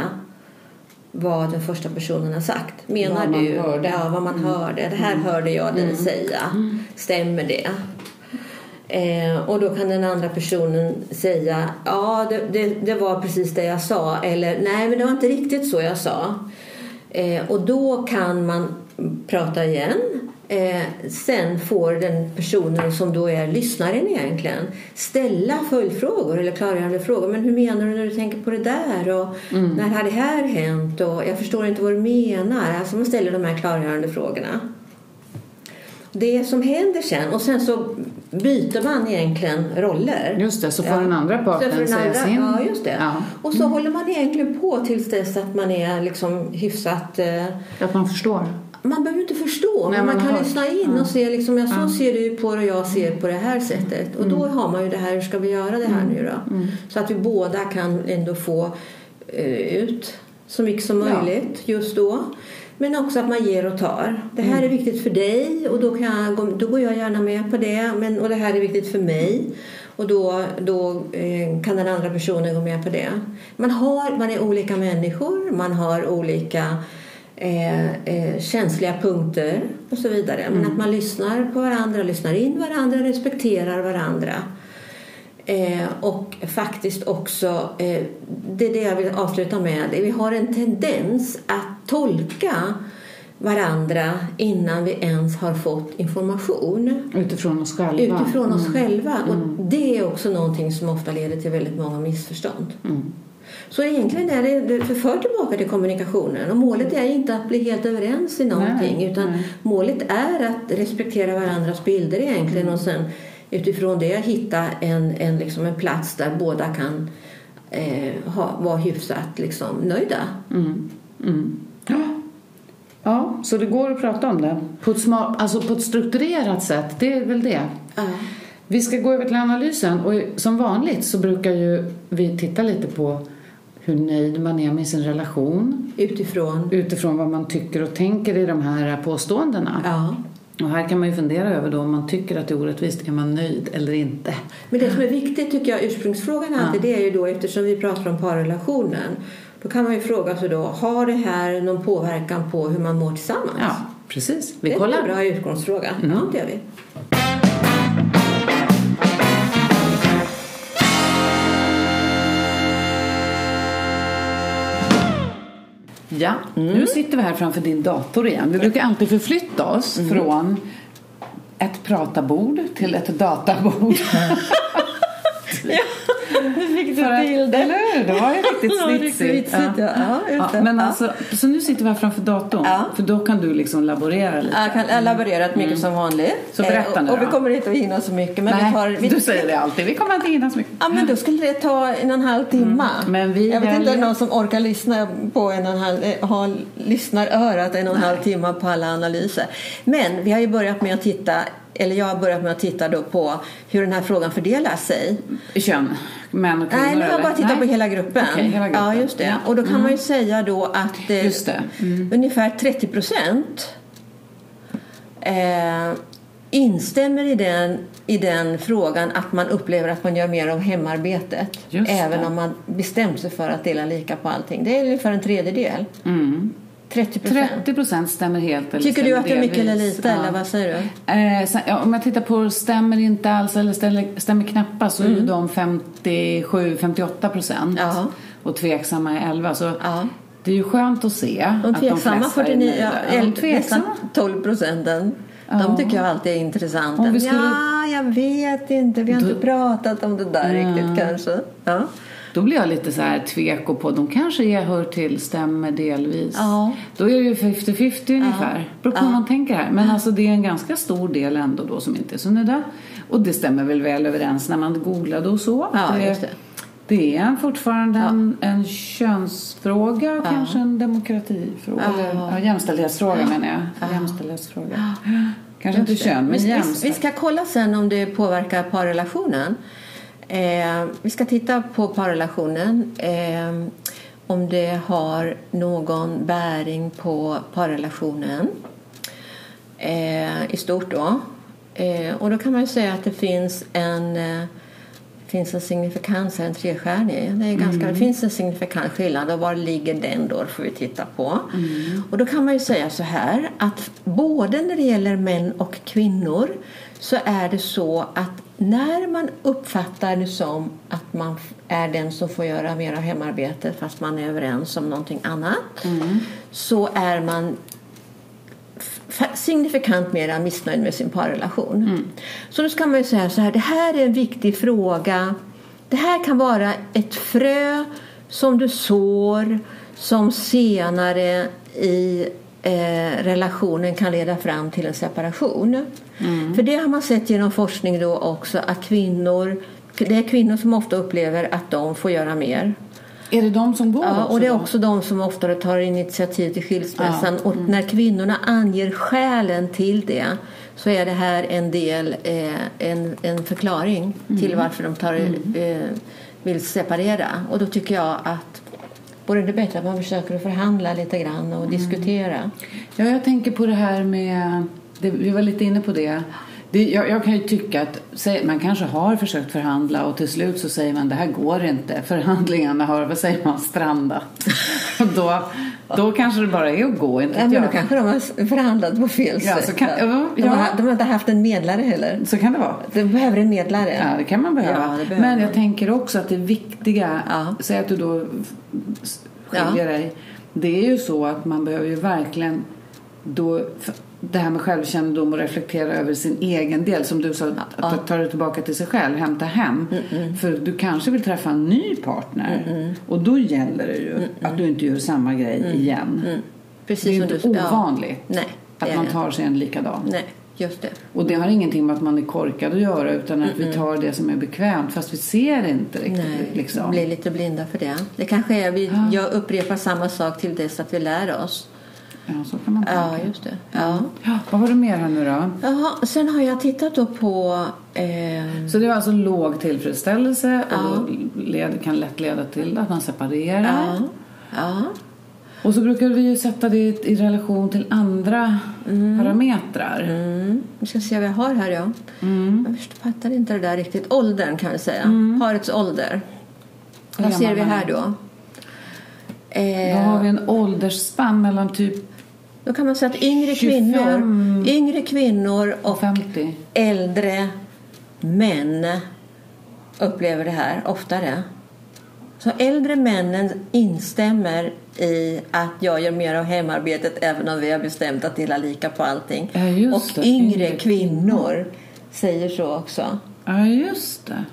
[SPEAKER 3] vad den första personen har sagt. Menar
[SPEAKER 2] Vad man
[SPEAKER 3] du?
[SPEAKER 2] hörde.
[SPEAKER 3] Ja, vad man hörde. Det här hörde jag dig säga. Stämmer det? Eh, och då kan den andra personen säga ja, det, det, det var precis det jag sa eller nej, men det var inte riktigt så jag sa. Eh, och då kan man prata igen. Eh, sen får den personen som då är lyssnaren egentligen ställa följdfrågor eller klargörande frågor. Men hur menar du när du tänker på det där? Och
[SPEAKER 2] Mm.
[SPEAKER 3] När har det här hänt? Och jag förstår inte vad du menar. Alltså man ställer de här klargörande frågorna det som händer sen och sen så byter man egentligen roller.
[SPEAKER 2] Just det, så får
[SPEAKER 3] Ja.
[SPEAKER 2] den andra parten
[SPEAKER 3] Så får den
[SPEAKER 2] säga
[SPEAKER 3] andra-
[SPEAKER 2] sin.
[SPEAKER 3] Ja, just det.
[SPEAKER 2] Ja. Mm.
[SPEAKER 3] Och så håller man egentligen på tills dess att man är liksom hyfsat... Eh,
[SPEAKER 2] Att man förstår.
[SPEAKER 3] man behöver inte förstå,
[SPEAKER 2] Nej, man
[SPEAKER 3] men man,
[SPEAKER 2] har
[SPEAKER 3] kan
[SPEAKER 2] hört.
[SPEAKER 3] lyssna in och se liksom, ja, så ser du på det och jag ser på det här sättet. Och då
[SPEAKER 2] Mm.
[SPEAKER 3] har man ju det här, hur ska vi göra det här nu då? Så att vi båda kan ändå få eh, ut så mycket som
[SPEAKER 2] Ja.
[SPEAKER 3] möjligt just då. Men också att man ger och tar. Det här
[SPEAKER 2] Mm.
[SPEAKER 3] är viktigt för dig och då, kan jag, gå- då går jag gärna med på det. Men, och det här är viktigt för mig. Och då, då eh, kan den andra personen gå med på det. Man, har, man är olika människor, man har olika eh, eh, känsliga punkter och så vidare. Men att man lyssnar på varandra, lyssnar in varandra, respekterar varandra. Eh, och faktiskt också, eh, det är det jag vill avsluta med, vi har en tendens att tolka varandra innan vi ens har fått information
[SPEAKER 2] Utifrån oss själva. Mm.
[SPEAKER 3] utifrån oss själva. Och det är också någonting som ofta leder till väldigt många missförstånd.
[SPEAKER 2] Mm.
[SPEAKER 3] Så egentligen är det- det förför tillbaka till kommunikationen. Och målet är inte att bli helt överens i någonting.
[SPEAKER 2] Mm. Nej,
[SPEAKER 3] utan
[SPEAKER 2] nej.
[SPEAKER 3] målet är att respektera varandras bilder egentligen.
[SPEAKER 2] Mm.
[SPEAKER 3] Och sen utifrån det hitta en, en, liksom en plats där båda kan eh, ha, vara hyfsat liksom, nöjda.
[SPEAKER 2] Mm. Mm. Ja. ja, så det går att prata om det. På ett, smart, alltså på ett strukturerat sätt, det är väl det. Vi ska gå över till analysen och som vanligt så brukar ju vi titta lite på hur nöjd man är med sin relation
[SPEAKER 3] Utifrån.
[SPEAKER 2] utifrån vad man tycker och tänker i de här påståendena.
[SPEAKER 3] Ja.
[SPEAKER 2] Och här kan man ju fundera över då om man tycker att det är orättvist, är man nöjd eller inte?
[SPEAKER 3] Men det som
[SPEAKER 2] Mm.
[SPEAKER 3] är viktigt tycker jag, ursprungsfrågan alltid, det är ju då eftersom vi pratar om parrelationen. Då kan man ju fråga sig då, har det här någon påverkan på hur man mår tillsammans?
[SPEAKER 2] Ja, precis.
[SPEAKER 3] det
[SPEAKER 2] Vi
[SPEAKER 3] är
[SPEAKER 2] kollar.
[SPEAKER 3] en bra utgångsfråga. Ja, det gör vi.
[SPEAKER 2] Ja,
[SPEAKER 3] Mm.
[SPEAKER 2] nu sitter vi här framför din dator igen. Vi brukar alltid förflytta oss
[SPEAKER 3] Mm-hmm.
[SPEAKER 2] från ett pratabord till ett databord.
[SPEAKER 3] Hur fick
[SPEAKER 2] För att- Eller hur? Det var ju riktigt
[SPEAKER 3] Ja, det är
[SPEAKER 2] snitsigt.
[SPEAKER 3] vitsigt, ja. Ja, just det.
[SPEAKER 2] men
[SPEAKER 3] Ja.
[SPEAKER 2] alltså, så nu sitter vi här framför datorn.
[SPEAKER 3] Ja.
[SPEAKER 2] För då kan du liksom laborera lite.
[SPEAKER 3] Jag kan elaborera mycket
[SPEAKER 2] Mm.
[SPEAKER 3] som vanligt.
[SPEAKER 2] Så berätta
[SPEAKER 3] Eh, och-
[SPEAKER 2] nu
[SPEAKER 3] Och vi
[SPEAKER 2] då.
[SPEAKER 3] kommer inte att hinna så mycket. Men
[SPEAKER 2] Nej,
[SPEAKER 3] vi tar, vi,
[SPEAKER 2] du säger det alltid. Vi kommer inte hinna så mycket.
[SPEAKER 3] Ja, men då skulle det ta en och en halv timme.
[SPEAKER 2] Mm. Men vi
[SPEAKER 3] jag vet inte om
[SPEAKER 2] väljer-
[SPEAKER 3] någon som orkar lyssna på en och en halv, eh, ha, lyssnar örat en och en halv timme på alla analyser. Men vi har ju börjat med att titta, eller jag har börjat med att titta då på hur den här frågan fördelar sig.
[SPEAKER 2] Kön, män och kvinnor.
[SPEAKER 3] Nej, nu har jag
[SPEAKER 2] eller?
[SPEAKER 3] bara tittat
[SPEAKER 2] Nej.
[SPEAKER 3] på hela gruppen.
[SPEAKER 2] Okej, hela gruppen.
[SPEAKER 3] Ja, just det.
[SPEAKER 2] Ja. Mm.
[SPEAKER 3] Och då kan man ju säga då att eh,
[SPEAKER 2] Just det. Mm.
[SPEAKER 3] ungefär 30 procent eh, instämmer i den, i den frågan att man upplever att man gör mer av hemarbetet.
[SPEAKER 2] Just det.
[SPEAKER 3] även om man bestämt sig för att dela lika på allting. Det är ungefär en tredjedel.
[SPEAKER 2] Mm.
[SPEAKER 3] 30 procent.
[SPEAKER 2] 30 procent stämmer helt eller
[SPEAKER 3] typ Tycker du
[SPEAKER 2] stämmer
[SPEAKER 3] att det är mycket eller
[SPEAKER 2] delvis.
[SPEAKER 3] lite?
[SPEAKER 2] Ja.
[SPEAKER 3] Eller vad säger du?
[SPEAKER 2] Eh, sen, ja, om jag tittar på stämmer inte alls eller stämmer, stämmer knappast så är ju de 57-58 procent
[SPEAKER 3] Mm. Ja.
[SPEAKER 2] och tveksamma är 11. Så
[SPEAKER 3] Ja.
[SPEAKER 2] det är ju skönt att se
[SPEAKER 3] De tveksamma
[SPEAKER 2] att de flesta är
[SPEAKER 3] 49,
[SPEAKER 2] nöjda.
[SPEAKER 3] ja, liksom.
[SPEAKER 2] Ja, de
[SPEAKER 3] eller nästan
[SPEAKER 2] tveksamma.
[SPEAKER 3] 12 procenten.
[SPEAKER 2] Ja.
[SPEAKER 3] De tycker jag alltid är intressanta.
[SPEAKER 2] Om vi skulle-
[SPEAKER 3] Ja, jag vet inte. Vi har
[SPEAKER 2] Då-
[SPEAKER 3] inte pratat om det där riktigt kanske. Ja.
[SPEAKER 2] Då blir jag lite så här tvek och på de kanske är, hör till stämmer delvis.
[SPEAKER 3] Ja.
[SPEAKER 2] Då är det ju 50-50 ungefär. Beror på hur man tänker här.
[SPEAKER 3] Mm.
[SPEAKER 2] Men alltså det är en ganska stor del ändå då som inte är så nöjda. Och det stämmer väl väl överens när man googlade och så.
[SPEAKER 3] Ja,
[SPEAKER 2] det,
[SPEAKER 3] just det.
[SPEAKER 2] det är en- fortfarande en, en könsfråga, kanske en demokratifråga.
[SPEAKER 3] Ja.
[SPEAKER 2] Eller, ja, jämställdhetsfråga menar jag. Jämställdhetsfråga. Kanske inte kön, men
[SPEAKER 3] vi, vi, vi
[SPEAKER 2] jämställdhet.
[SPEAKER 3] ska kolla sen om det påverkar parrelationen. Eh, vi ska titta på parrelationen. Eh, om det har någon bäring på parrelationen eh, i stort då. Eh, och då kan man ju säga att det finns en eh, finns en signifikans här, en trestjärnig. Det, är ganska, det finns en signifikant skillnad och var ligger den då får vi titta på. Och då kan man ju säga så här att både när det gäller män och kvinnor så är det så att när man uppfattar det som att man f- är den som får göra mer av hemarbetet fast man är överens om någonting annat så är man f- signifikant mera missnöjd med sin parrelation. Så då ska man ju säga så här, det här är en viktig fråga. Det här kan vara ett frö som du sår som senare i eh, relationen kan leda fram till en separation. För det har man sett genom forskning då också att kvinnor, det är kvinnor som ofta upplever att de får göra mer.
[SPEAKER 2] Är det de som går
[SPEAKER 3] Ja, och det är
[SPEAKER 2] då?
[SPEAKER 3] också de som oftare tar initiativ till skilsmässan. Och
[SPEAKER 2] Mm.
[SPEAKER 3] när kvinnorna anger skälen till det så är det här en del, eh, en, en förklaring till
[SPEAKER 2] Mm.
[SPEAKER 3] varför de tar, eh, vill separera. Och då tycker jag att vore det bättre att man försöker förhandla lite grann
[SPEAKER 2] Mm.
[SPEAKER 3] och diskutera.
[SPEAKER 2] Ja, jag tänker på det här med... Det, vi var lite inne på det. det jag, jag kan ju tycka att säg, man kanske har försökt förhandla och till slut så säger man det här går inte. Förhandlingarna har, vad säger man, strandat. Och då, då kanske det bara är att gå, inte
[SPEAKER 3] Ja,
[SPEAKER 2] vet
[SPEAKER 3] men då
[SPEAKER 2] jag.
[SPEAKER 3] kanske de har förhandlat på fel
[SPEAKER 2] Ja,
[SPEAKER 3] sätt.
[SPEAKER 2] så kan- ja,
[SPEAKER 3] de, har,
[SPEAKER 2] ja.
[SPEAKER 3] de har inte haft en medlare heller.
[SPEAKER 2] Så kan det vara.
[SPEAKER 3] De behöver en medlare.
[SPEAKER 2] Ja, det kan man behöva.
[SPEAKER 3] Ja, det behöver
[SPEAKER 2] Men jag
[SPEAKER 3] man.
[SPEAKER 2] tänker också att det viktiga,
[SPEAKER 3] Ja.
[SPEAKER 2] säg att du då s- skiljer
[SPEAKER 3] Ja.
[SPEAKER 2] dig. Det är ju så att man behöver ju verkligen då f- det här med självkännedom och reflektera över sin egen del som du sa, att ta- ta det tillbaka till sig själv, hämta hem. För du kanske vill träffa en ny partner och då gäller det ju att du inte gör samma grej igen.
[SPEAKER 3] Mm. Precis
[SPEAKER 2] Det är ju
[SPEAKER 3] som
[SPEAKER 2] inte
[SPEAKER 3] du- ja.
[SPEAKER 2] ovanligt
[SPEAKER 3] Nej, det är
[SPEAKER 2] att man
[SPEAKER 3] det.
[SPEAKER 2] tar sig en likadan.
[SPEAKER 3] Nej, just det.
[SPEAKER 2] Och det har ingenting med att man är korkad att göra utan att vi tar det som är bekvämt fast vi ser inte riktigt.
[SPEAKER 3] Nej,
[SPEAKER 2] liksom.
[SPEAKER 3] blir lite blinda för det. Det kanske är vi, jag upprepar samma sak till dess att vi lär oss.
[SPEAKER 2] Ja, så kan man
[SPEAKER 3] Ja,
[SPEAKER 2] tänka.
[SPEAKER 3] just det. Ja.
[SPEAKER 2] Ja, vad var det mer här nu då?
[SPEAKER 3] Jaha, sen har jag tittat då på... Eh,
[SPEAKER 2] Så det var alltså låg tillfredsställelse och
[SPEAKER 3] Ja.
[SPEAKER 2] då led, kan lätt leda till att man separerar.
[SPEAKER 3] ja, ja.
[SPEAKER 2] Och så brukar vi ju sätta det i relation till andra
[SPEAKER 3] Mm.
[SPEAKER 2] parametrar.
[SPEAKER 3] Vi ska se vad jag har här ja.
[SPEAKER 2] Mm.
[SPEAKER 3] Jag förstår- fattar inte det där riktigt. Åldern kan vi säga. Parets ålder.
[SPEAKER 2] Hur
[SPEAKER 3] Vad ser
[SPEAKER 2] gammal
[SPEAKER 3] vi
[SPEAKER 2] man är.
[SPEAKER 3] här då?
[SPEAKER 2] Då
[SPEAKER 3] Eh,
[SPEAKER 2] har vi en åldersspann mellan typ
[SPEAKER 3] då kan man säga att yngre
[SPEAKER 2] 25.
[SPEAKER 3] kvinnor, yngre kvinnor och
[SPEAKER 2] 50.
[SPEAKER 3] äldre män upplever det här oftare. Så äldre männen instämmer i att jag gör mer av hemarbetet även om vi har bestämt att dela lika på allting.
[SPEAKER 2] Ja, just
[SPEAKER 3] och
[SPEAKER 2] det.
[SPEAKER 3] yngre,
[SPEAKER 2] Yngre
[SPEAKER 3] kvinnor säger så också.
[SPEAKER 2] Ja, just det.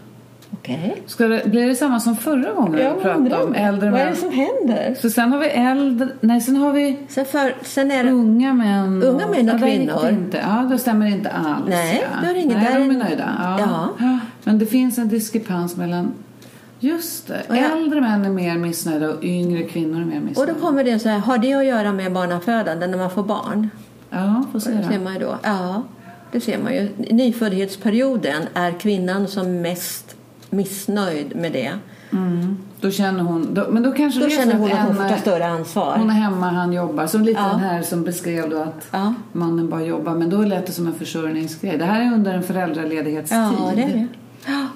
[SPEAKER 3] Okej.
[SPEAKER 2] Ska det. Blir det samma som förra gången vi pratade om? Äldre
[SPEAKER 3] Vad är det
[SPEAKER 2] män.
[SPEAKER 3] som händer?
[SPEAKER 2] Så sen har vi äldre... Nej, sen har vi
[SPEAKER 3] Sen, för, sen är det...
[SPEAKER 2] unga män.
[SPEAKER 3] Unga män och
[SPEAKER 2] ja, där gick det
[SPEAKER 3] kvinnor.
[SPEAKER 2] Inte. Ja, då stämmer det inte alls.
[SPEAKER 3] Nej,
[SPEAKER 2] ja.
[SPEAKER 3] då är det ingen-
[SPEAKER 2] Nej,
[SPEAKER 3] där är
[SPEAKER 2] de är
[SPEAKER 3] en-
[SPEAKER 2] nöjda. Ja.
[SPEAKER 3] Ja.
[SPEAKER 2] Men det finns en diskrepans mellan... Just det.
[SPEAKER 3] Och jag-
[SPEAKER 2] Äldre män är mer missnöjda och yngre kvinnor är mer missnöjda.
[SPEAKER 3] Och då kommer det så här, har det att göra med barnafödande när man får barn?
[SPEAKER 2] Ja, får se
[SPEAKER 3] Det ser
[SPEAKER 2] då.
[SPEAKER 3] man ju då. Ja, det ser man ju. Nyföddhetsperioden är kvinnan som mest missnöjd med det.
[SPEAKER 2] Mm. Då känner hon... Då, men då kanske
[SPEAKER 3] Då
[SPEAKER 2] det är
[SPEAKER 3] känner
[SPEAKER 2] så
[SPEAKER 3] hon att hon
[SPEAKER 2] en
[SPEAKER 3] får
[SPEAKER 2] är-
[SPEAKER 3] ta större ansvar.
[SPEAKER 2] Hon är hemma, han jobbar. Som lite
[SPEAKER 3] Ja.
[SPEAKER 2] den här som beskrev då att
[SPEAKER 3] Ja.
[SPEAKER 2] mannen bara jobbar. Men då lät det som en försörjningsgrej. Det här är under en föräldraledighetstid.
[SPEAKER 3] Ja, det är det. Ja,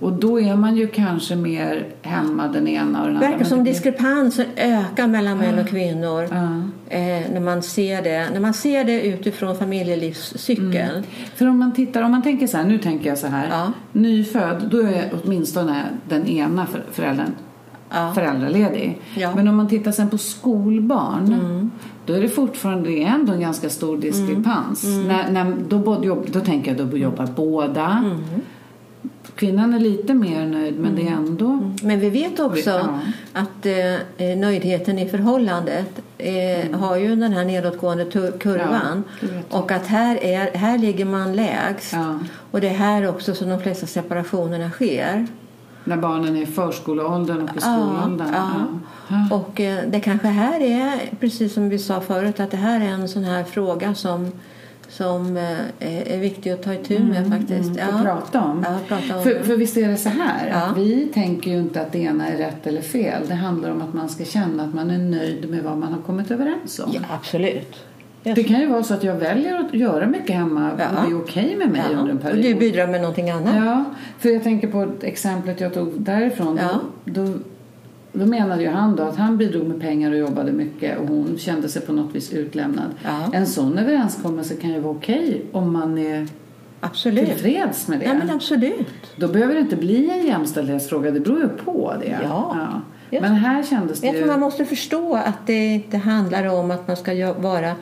[SPEAKER 2] Och då är man ju kanske mer hemma den ena och den andra.
[SPEAKER 3] Det verkar som
[SPEAKER 2] Men det blir-
[SPEAKER 3] diskrepansen ökar mellan män och kvinnor.
[SPEAKER 2] Ja.
[SPEAKER 3] Eh, när, man ser det, när man ser det utifrån familjelivscykeln.
[SPEAKER 2] För om man tittar, om man tänker så här, nu tänker jag så här.
[SPEAKER 3] Ja.
[SPEAKER 2] Nyfödd, då är åtminstone den ena för- föräldern
[SPEAKER 3] Ja.
[SPEAKER 2] föräldraledig.
[SPEAKER 3] Ja. Mm.
[SPEAKER 2] Men om man tittar sen på skolbarn, då är det fortfarande det är ändå en ganska stor diskrepans.
[SPEAKER 3] Mm.
[SPEAKER 2] När, när, då, både jobb, då tänker jag, då jobbar båda.
[SPEAKER 3] Mm.
[SPEAKER 2] Kvinnan är lite mer nöjd, men
[SPEAKER 3] Mm.
[SPEAKER 2] det är ändå...
[SPEAKER 3] Men vi vet också
[SPEAKER 2] Ja.
[SPEAKER 3] att eh, nöjdheten i förhållandet eh, har ju den här nedåtgående tu- kurvan.
[SPEAKER 2] Mm. Ja, det vet
[SPEAKER 3] och att här, är, här ligger man lägst.
[SPEAKER 2] Ja.
[SPEAKER 3] Och det är här också som de flesta separationerna sker.
[SPEAKER 2] När barnen är i förskoleåldern och i skolåldern.
[SPEAKER 3] ja.
[SPEAKER 2] Ja.
[SPEAKER 3] Och eh, det kanske här är, precis som vi sa förut, att det här är en sån här fråga som, som eh, är- är viktig att ta itu med faktiskt.
[SPEAKER 2] Mm, att prata om.
[SPEAKER 3] Ja, prata om
[SPEAKER 2] För,
[SPEAKER 3] det.
[SPEAKER 2] för visst är det så här, att
[SPEAKER 3] Ja.
[SPEAKER 2] vi tänker ju inte att det ena är rätt eller fel. Det handlar om att man ska känna att man är nöjd med vad man har kommit överens om.
[SPEAKER 3] Ja, absolut.
[SPEAKER 2] Det kan ju vara så att jag väljer att göra mycket hemma
[SPEAKER 3] Ja.
[SPEAKER 2] och det är okej med mig
[SPEAKER 3] Ja.
[SPEAKER 2] under en
[SPEAKER 3] Och du
[SPEAKER 2] period.
[SPEAKER 3] bidrar med någonting annat.
[SPEAKER 2] Ja, för jag tänker på exemplet jag tog därifrån.
[SPEAKER 3] Ja.
[SPEAKER 2] Då, då, då menade ju han då att han bidrog med pengar och jobbade mycket och hon kände sig på något vis utlämnad.
[SPEAKER 3] Ja.
[SPEAKER 2] En sån överenskommelse kan ju vara okej om man är
[SPEAKER 3] Absolut.
[SPEAKER 2] tillfreds med det.
[SPEAKER 3] Ja, men absolut.
[SPEAKER 2] Då behöver det inte bli en jämställdhetsfråga, det beror ju på det.
[SPEAKER 3] Ja. Jag-
[SPEAKER 2] Men här kändes det
[SPEAKER 3] Jag
[SPEAKER 2] ju...
[SPEAKER 3] tror man måste förstå att det inte handlar om att man ska gö- vara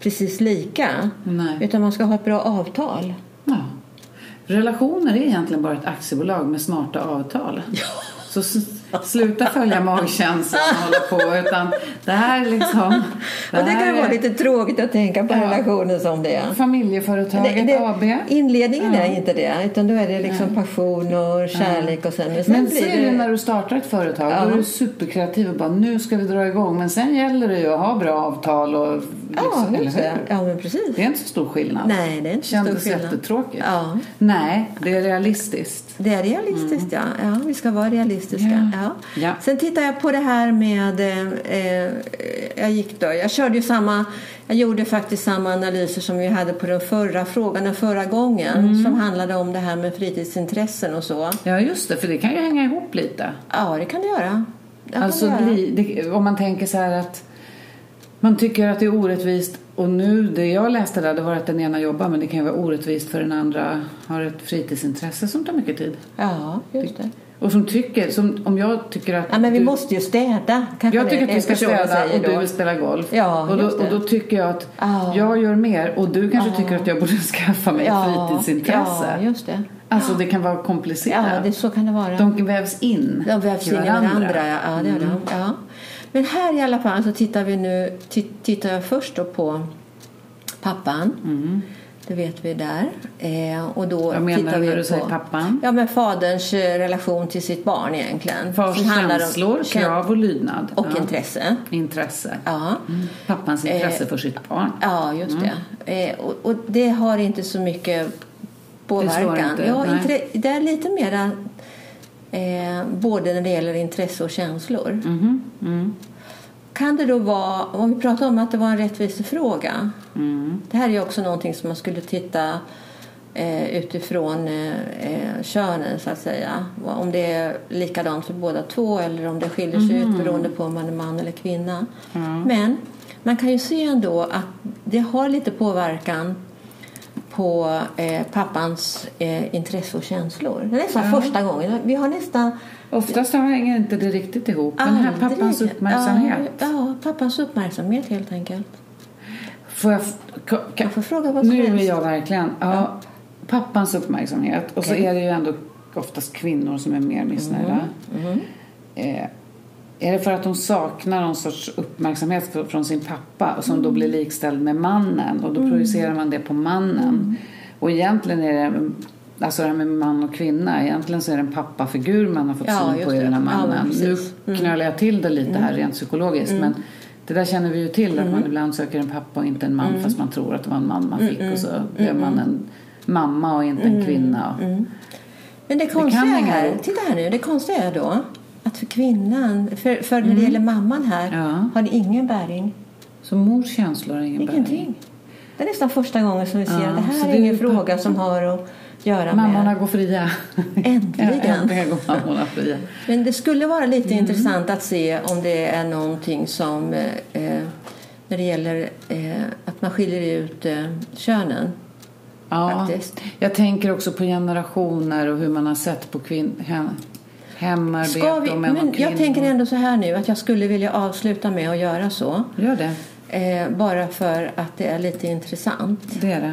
[SPEAKER 3] precis lika.
[SPEAKER 2] Nej.
[SPEAKER 3] Utan man ska ha ett bra avtal.
[SPEAKER 2] Ja. Relationer är egentligen bara ett aktiebolag med smarta avtal. Så s- sluta följa magkänslan och hålla på. Utan det här är liksom...
[SPEAKER 3] och det kan
[SPEAKER 2] här
[SPEAKER 3] ju vara
[SPEAKER 2] är
[SPEAKER 3] lite tråkigt att tänka på
[SPEAKER 2] Ja.
[SPEAKER 3] relationen som det är.
[SPEAKER 2] Familjeföretaget
[SPEAKER 3] Det- det-
[SPEAKER 2] AB.
[SPEAKER 3] Inledningen är inte det, utan då är det liksom passion och kärlek och sen, men sen
[SPEAKER 2] Men
[SPEAKER 3] blir
[SPEAKER 2] så är det när du startar ett företag. Då är du superkreativ och bara nu ska vi dra igång. Men sen gäller det ju att ha bra avtal och
[SPEAKER 3] Ja,
[SPEAKER 2] eller
[SPEAKER 3] just det.
[SPEAKER 2] hur?
[SPEAKER 3] Ja, men precis.
[SPEAKER 2] Det är inte så stor skillnad.
[SPEAKER 3] Nej, det är inte så
[SPEAKER 2] Kändes
[SPEAKER 3] stor skillnad.
[SPEAKER 2] jättetråkigt.
[SPEAKER 3] Ja.
[SPEAKER 2] Nej, det är realistiskt.
[SPEAKER 3] Det är realistiskt, ja. ja. Vi ska vara realistiska.
[SPEAKER 2] Mm. Ja.
[SPEAKER 3] Ja.
[SPEAKER 2] Ja.
[SPEAKER 3] Sen tittar jag på det här med... eh, Eh, jag gick då. Jag körde ju samma... Jag gjorde faktiskt samma analyser som vi hade på den förra frågan, den förra gången,
[SPEAKER 2] Mm.
[SPEAKER 3] som handlade om det här med fritidsintressen och så.
[SPEAKER 2] Ja, just det. För det kan ju hänga ihop lite.
[SPEAKER 3] Ja, det kan det göra. Det kan
[SPEAKER 2] Alltså,
[SPEAKER 3] det göra.
[SPEAKER 2] bli, det, om man tänker så här att man tycker att det är orättvist och nu, det jag läste där, det var att den ena jobbar men det kan ju vara orättvist för den andra har ett fritidsintresse som tar mycket tid.
[SPEAKER 3] Ja, just det.
[SPEAKER 2] Och som tycker, som, om jag tycker att...
[SPEAKER 3] Ja, men vi
[SPEAKER 2] du,
[SPEAKER 3] måste ju städa. kanske
[SPEAKER 2] jag tycker
[SPEAKER 3] det
[SPEAKER 2] att vi ska
[SPEAKER 3] personen
[SPEAKER 2] städa
[SPEAKER 3] säger
[SPEAKER 2] och du
[SPEAKER 3] då.
[SPEAKER 2] vill spela golf.
[SPEAKER 3] Ja,
[SPEAKER 2] och, då,
[SPEAKER 3] just det. Ah.
[SPEAKER 2] och då tycker jag att
[SPEAKER 3] Ja.
[SPEAKER 2] jag gör mer och du kanske tycker att jag borde skaffa mig ett fritidsintresse.
[SPEAKER 3] Ja, just det.
[SPEAKER 2] Alltså det kan vara
[SPEAKER 3] Ja,
[SPEAKER 2] komplicerat.
[SPEAKER 3] det, så kan det vara.
[SPEAKER 2] De vävs in
[SPEAKER 3] De vävs in i varandra, ja. ja, det gör
[SPEAKER 2] Mm.
[SPEAKER 3] de. ja. Men här i alla fall så tittar vi nu, ti- tittar jag först då på pappan. Det vet vi där. Eh, och då
[SPEAKER 2] Mm. Vad menar
[SPEAKER 3] tittar
[SPEAKER 2] du
[SPEAKER 3] vi
[SPEAKER 2] när du
[SPEAKER 3] på,
[SPEAKER 2] säger pappan?
[SPEAKER 3] Ja, men faderns eh, relation till sitt barn egentligen.
[SPEAKER 2] Fars
[SPEAKER 3] Som handlar om
[SPEAKER 2] känslor,
[SPEAKER 3] kän-
[SPEAKER 2] krav och lydnad.
[SPEAKER 3] Och
[SPEAKER 2] ja. Mm.
[SPEAKER 3] intresse.
[SPEAKER 2] intresse.
[SPEAKER 3] Ja. Eh,
[SPEAKER 2] Pappans intresse för sitt barn.
[SPEAKER 3] Ja, just det. Eh, och, och det har inte så mycket påverkan.
[SPEAKER 2] inte,
[SPEAKER 3] ja,
[SPEAKER 2] nej.
[SPEAKER 3] intre, det är lite mera
[SPEAKER 2] Mhm. Mm.
[SPEAKER 3] eh, både när det gäller intresse och känslor. kan det då vara, om vi pratar om att det var en rättvisefråga. Det här är ju också någonting som man skulle titta eh, utifrån eh, eh, könen så att säga. Om det är likadant för båda två eller om det skiljer sig ut beroende på om man är man eller kvinna. Men man kan ju se ändå att det har lite påverkan på eh, pappans eh, intresse och känslor. Det är nästan första gången. Vi har nästan
[SPEAKER 2] Oftast hänger inte det riktigt ihop. Den här
[SPEAKER 3] Aldrig.
[SPEAKER 2] pappans uppmärksamhet.
[SPEAKER 3] Ja, ja, pappans uppmärksamhet helt enkelt.
[SPEAKER 2] Får jag, f- ka- ka-
[SPEAKER 3] Jag får fråga vad som
[SPEAKER 2] nu är
[SPEAKER 3] helst.
[SPEAKER 2] jag verkligen... Ja, pappans uppmärksamhet. Och så
[SPEAKER 3] Okej.
[SPEAKER 2] är det ju ändå oftast kvinnor som är mer missnöjda. Eh, är det för att de saknar någon sorts uppmärksamhet fr- från sin pappa och som då
[SPEAKER 3] Mm.
[SPEAKER 2] blir likställd med mannen och då projicerar man det på
[SPEAKER 3] Mm.
[SPEAKER 2] mannen. Och egentligen är det... Alltså det här med man och kvinna. Egentligen så är det en pappafigur man har fått
[SPEAKER 3] Ja,
[SPEAKER 2] syn
[SPEAKER 3] just
[SPEAKER 2] på i
[SPEAKER 3] det.
[SPEAKER 2] den här
[SPEAKER 3] Ja, men
[SPEAKER 2] mannen. nu
[SPEAKER 3] precis. Mm.
[SPEAKER 2] knölar jag till det lite här rent psykologiskt. Men det där känner vi ju till att
[SPEAKER 3] Mm.
[SPEAKER 2] man ibland söker en pappa och inte en man fast man tror att det var en man man fick
[SPEAKER 3] mm.
[SPEAKER 2] och så blev man en mamma och inte en kvinna.
[SPEAKER 3] mm. Men det
[SPEAKER 2] kan
[SPEAKER 3] konstiga
[SPEAKER 2] hänga
[SPEAKER 3] här,
[SPEAKER 2] ihop.
[SPEAKER 3] titta här nu, det konstiga är då att för kvinnan, för, för när det gäller mamman här,
[SPEAKER 2] Mm. Ja.
[SPEAKER 3] har det ingen bäring.
[SPEAKER 2] Så mors känslor har ingen bäring.
[SPEAKER 3] Ingenting. Det är nästan första gången som vi ser
[SPEAKER 2] Ja,
[SPEAKER 3] att det
[SPEAKER 2] så Mm.
[SPEAKER 3] här
[SPEAKER 2] det
[SPEAKER 3] är
[SPEAKER 2] är
[SPEAKER 3] ingen
[SPEAKER 2] ju
[SPEAKER 3] fråga som har att göra
[SPEAKER 2] Mammorna
[SPEAKER 3] med.
[SPEAKER 2] går fria.
[SPEAKER 3] Äntligen.
[SPEAKER 2] Ja, äntligen går mammorna fria.
[SPEAKER 3] Men det skulle vara lite
[SPEAKER 2] Mm.
[SPEAKER 3] intressant att se om det är någonting som eh, eh, när det gäller eh, att man skiljer ut eh, könen.
[SPEAKER 2] Ja,
[SPEAKER 3] Faktiskt.
[SPEAKER 2] jag tänker också på generationer och hur man har sett på kvin- hem, hemarbete
[SPEAKER 3] Ska vi,
[SPEAKER 2] och män
[SPEAKER 3] men
[SPEAKER 2] och kvinnor.
[SPEAKER 3] jag tänker ändå så här nu att jag skulle vilja avsluta med att göra så.
[SPEAKER 2] Gör det,
[SPEAKER 3] Eh, bara för att det är lite intressant.
[SPEAKER 2] det är det.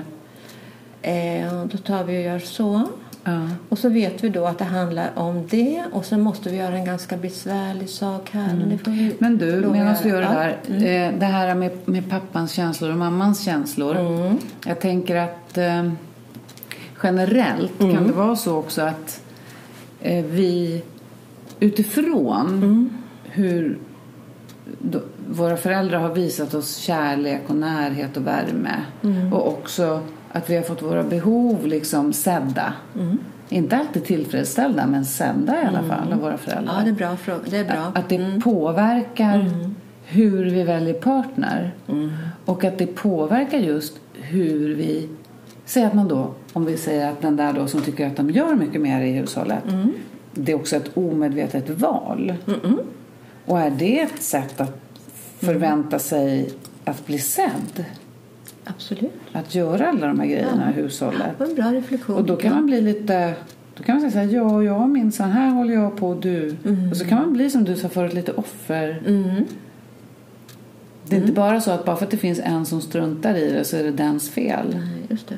[SPEAKER 3] Eh, då tar vi och gör så.
[SPEAKER 2] Ja.
[SPEAKER 3] Och så vet vi då att det handlar om det och sen måste vi göra en ganska besvärlig sak här. Men, det får vi
[SPEAKER 2] Mm. Men du,
[SPEAKER 3] lov att
[SPEAKER 2] medan vi gör
[SPEAKER 3] göra.
[SPEAKER 2] det där,
[SPEAKER 3] Mm.
[SPEAKER 2] eh, det här med, med pappans känslor och mammans känslor.
[SPEAKER 3] Mm.
[SPEAKER 2] Jag tänker att eh, generellt
[SPEAKER 3] Mm.
[SPEAKER 2] kan det vara så också att eh, vi utifrån
[SPEAKER 3] Mm.
[SPEAKER 2] hur då, våra föräldrar har visat oss kärlek och närhet och värme
[SPEAKER 3] Mm.
[SPEAKER 2] och också att vi har fått våra behov liksom sedda.
[SPEAKER 3] Mm.
[SPEAKER 2] Inte alltid tillfredsställda, men sedda i alla fall av våra föräldrar.
[SPEAKER 3] Ja, det är bra. frå- Det är bra.
[SPEAKER 2] Att det påverkar hur vi väljer partner. Och att det påverkar just hur vi... Säg att man då, om vi säger att den där då som tycker att de gör mycket mer i hushållet. Det är också ett omedvetet val. Och är det ett sätt att förvänta sig att bli sedd?
[SPEAKER 3] Absolut.
[SPEAKER 2] Att göra alla de här grejerna i hushållet?
[SPEAKER 3] Det var en bra reflektion.
[SPEAKER 2] Och då kan man bli lite... Då kan man säga så här, ja, jag minns, så här håller jag på och du. Och så kan man bli som du sa förut, lite offer.
[SPEAKER 3] Mm.
[SPEAKER 2] Det är inte bara så att bara för att det finns en som struntar i det så är det dens fel.
[SPEAKER 3] Nej, just det.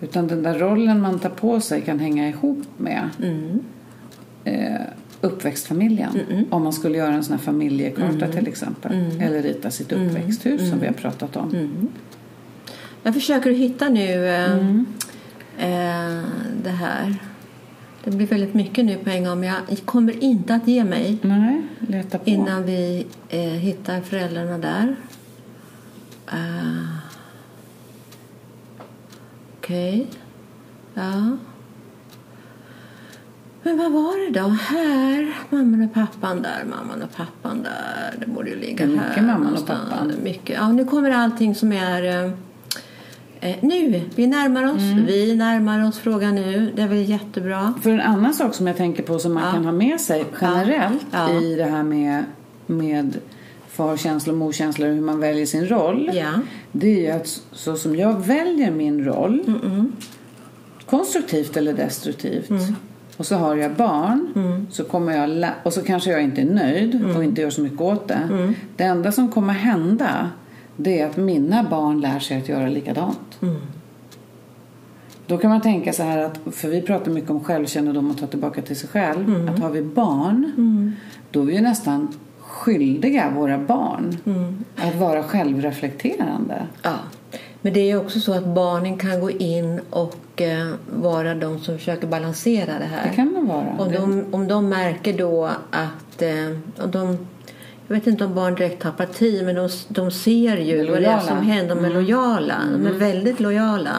[SPEAKER 2] Utan den där rollen man tar på sig kan hänga ihop med
[SPEAKER 3] Mm.
[SPEAKER 2] eh, uppväxtfamiljen. Om man skulle göra en sån här familjekarta
[SPEAKER 3] Mm.
[SPEAKER 2] till exempel. Eller rita sitt uppväxthus som vi har pratat om.
[SPEAKER 3] Mm. Jag försöker att hitta nu eh, eh, det här. Det blir väldigt mycket nu på en gång men jag kommer inte att ge mig
[SPEAKER 2] Nej, leta på.
[SPEAKER 3] innan vi eh, hittar föräldrarna där. Eh, Okej. Ja. Men vad var det då? Här, mamman och pappan där, mamman och pappan där. Det borde ju ligga
[SPEAKER 2] Det är mycket
[SPEAKER 3] här
[SPEAKER 2] mamman och
[SPEAKER 3] någonstans.
[SPEAKER 2] pappan.
[SPEAKER 3] Mycket. Ja, nu kommer allting som är... eh, Eh, nu! Vi närmar oss.
[SPEAKER 2] Mm.
[SPEAKER 3] Vi närmar oss frågan nu. Det är väl jättebra.
[SPEAKER 2] För en annan sak som jag tänker på som man kan ha med sig generellt
[SPEAKER 3] Ja. Ja.
[SPEAKER 2] i det här med, med farkänslor och morkänslor och hur man väljer sin roll.
[SPEAKER 3] Ja.
[SPEAKER 2] Det är ju att s- så som jag väljer min roll konstruktivt eller destruktivt och så har jag barn så kommer jag lä- och så kanske jag inte är nöjd och inte gör så mycket åt det. Det enda som kommer hända det är att mina barn lär sig att göra likadant.
[SPEAKER 3] Mm.
[SPEAKER 2] Då kan man tänka så här att, för vi pratar mycket om självkännedom och ta tillbaka till sig själv. Att har vi barn, då är vi ju nästan skyldiga våra barn att vara självreflekterande.
[SPEAKER 3] Ja. Men det är ju också så att barnen kan gå in och eh, vara de som försöker balansera det här.
[SPEAKER 2] Det kan de vara.
[SPEAKER 3] Om
[SPEAKER 2] Det-
[SPEAKER 3] de, om de märker då att... Eh, om de, jag vet inte om barn direkt tar parti, men de, de ser
[SPEAKER 2] De
[SPEAKER 3] ju
[SPEAKER 2] är
[SPEAKER 3] vad det är
[SPEAKER 2] lojala. Mm.
[SPEAKER 3] som händer. De är lojala. De är väldigt lojala.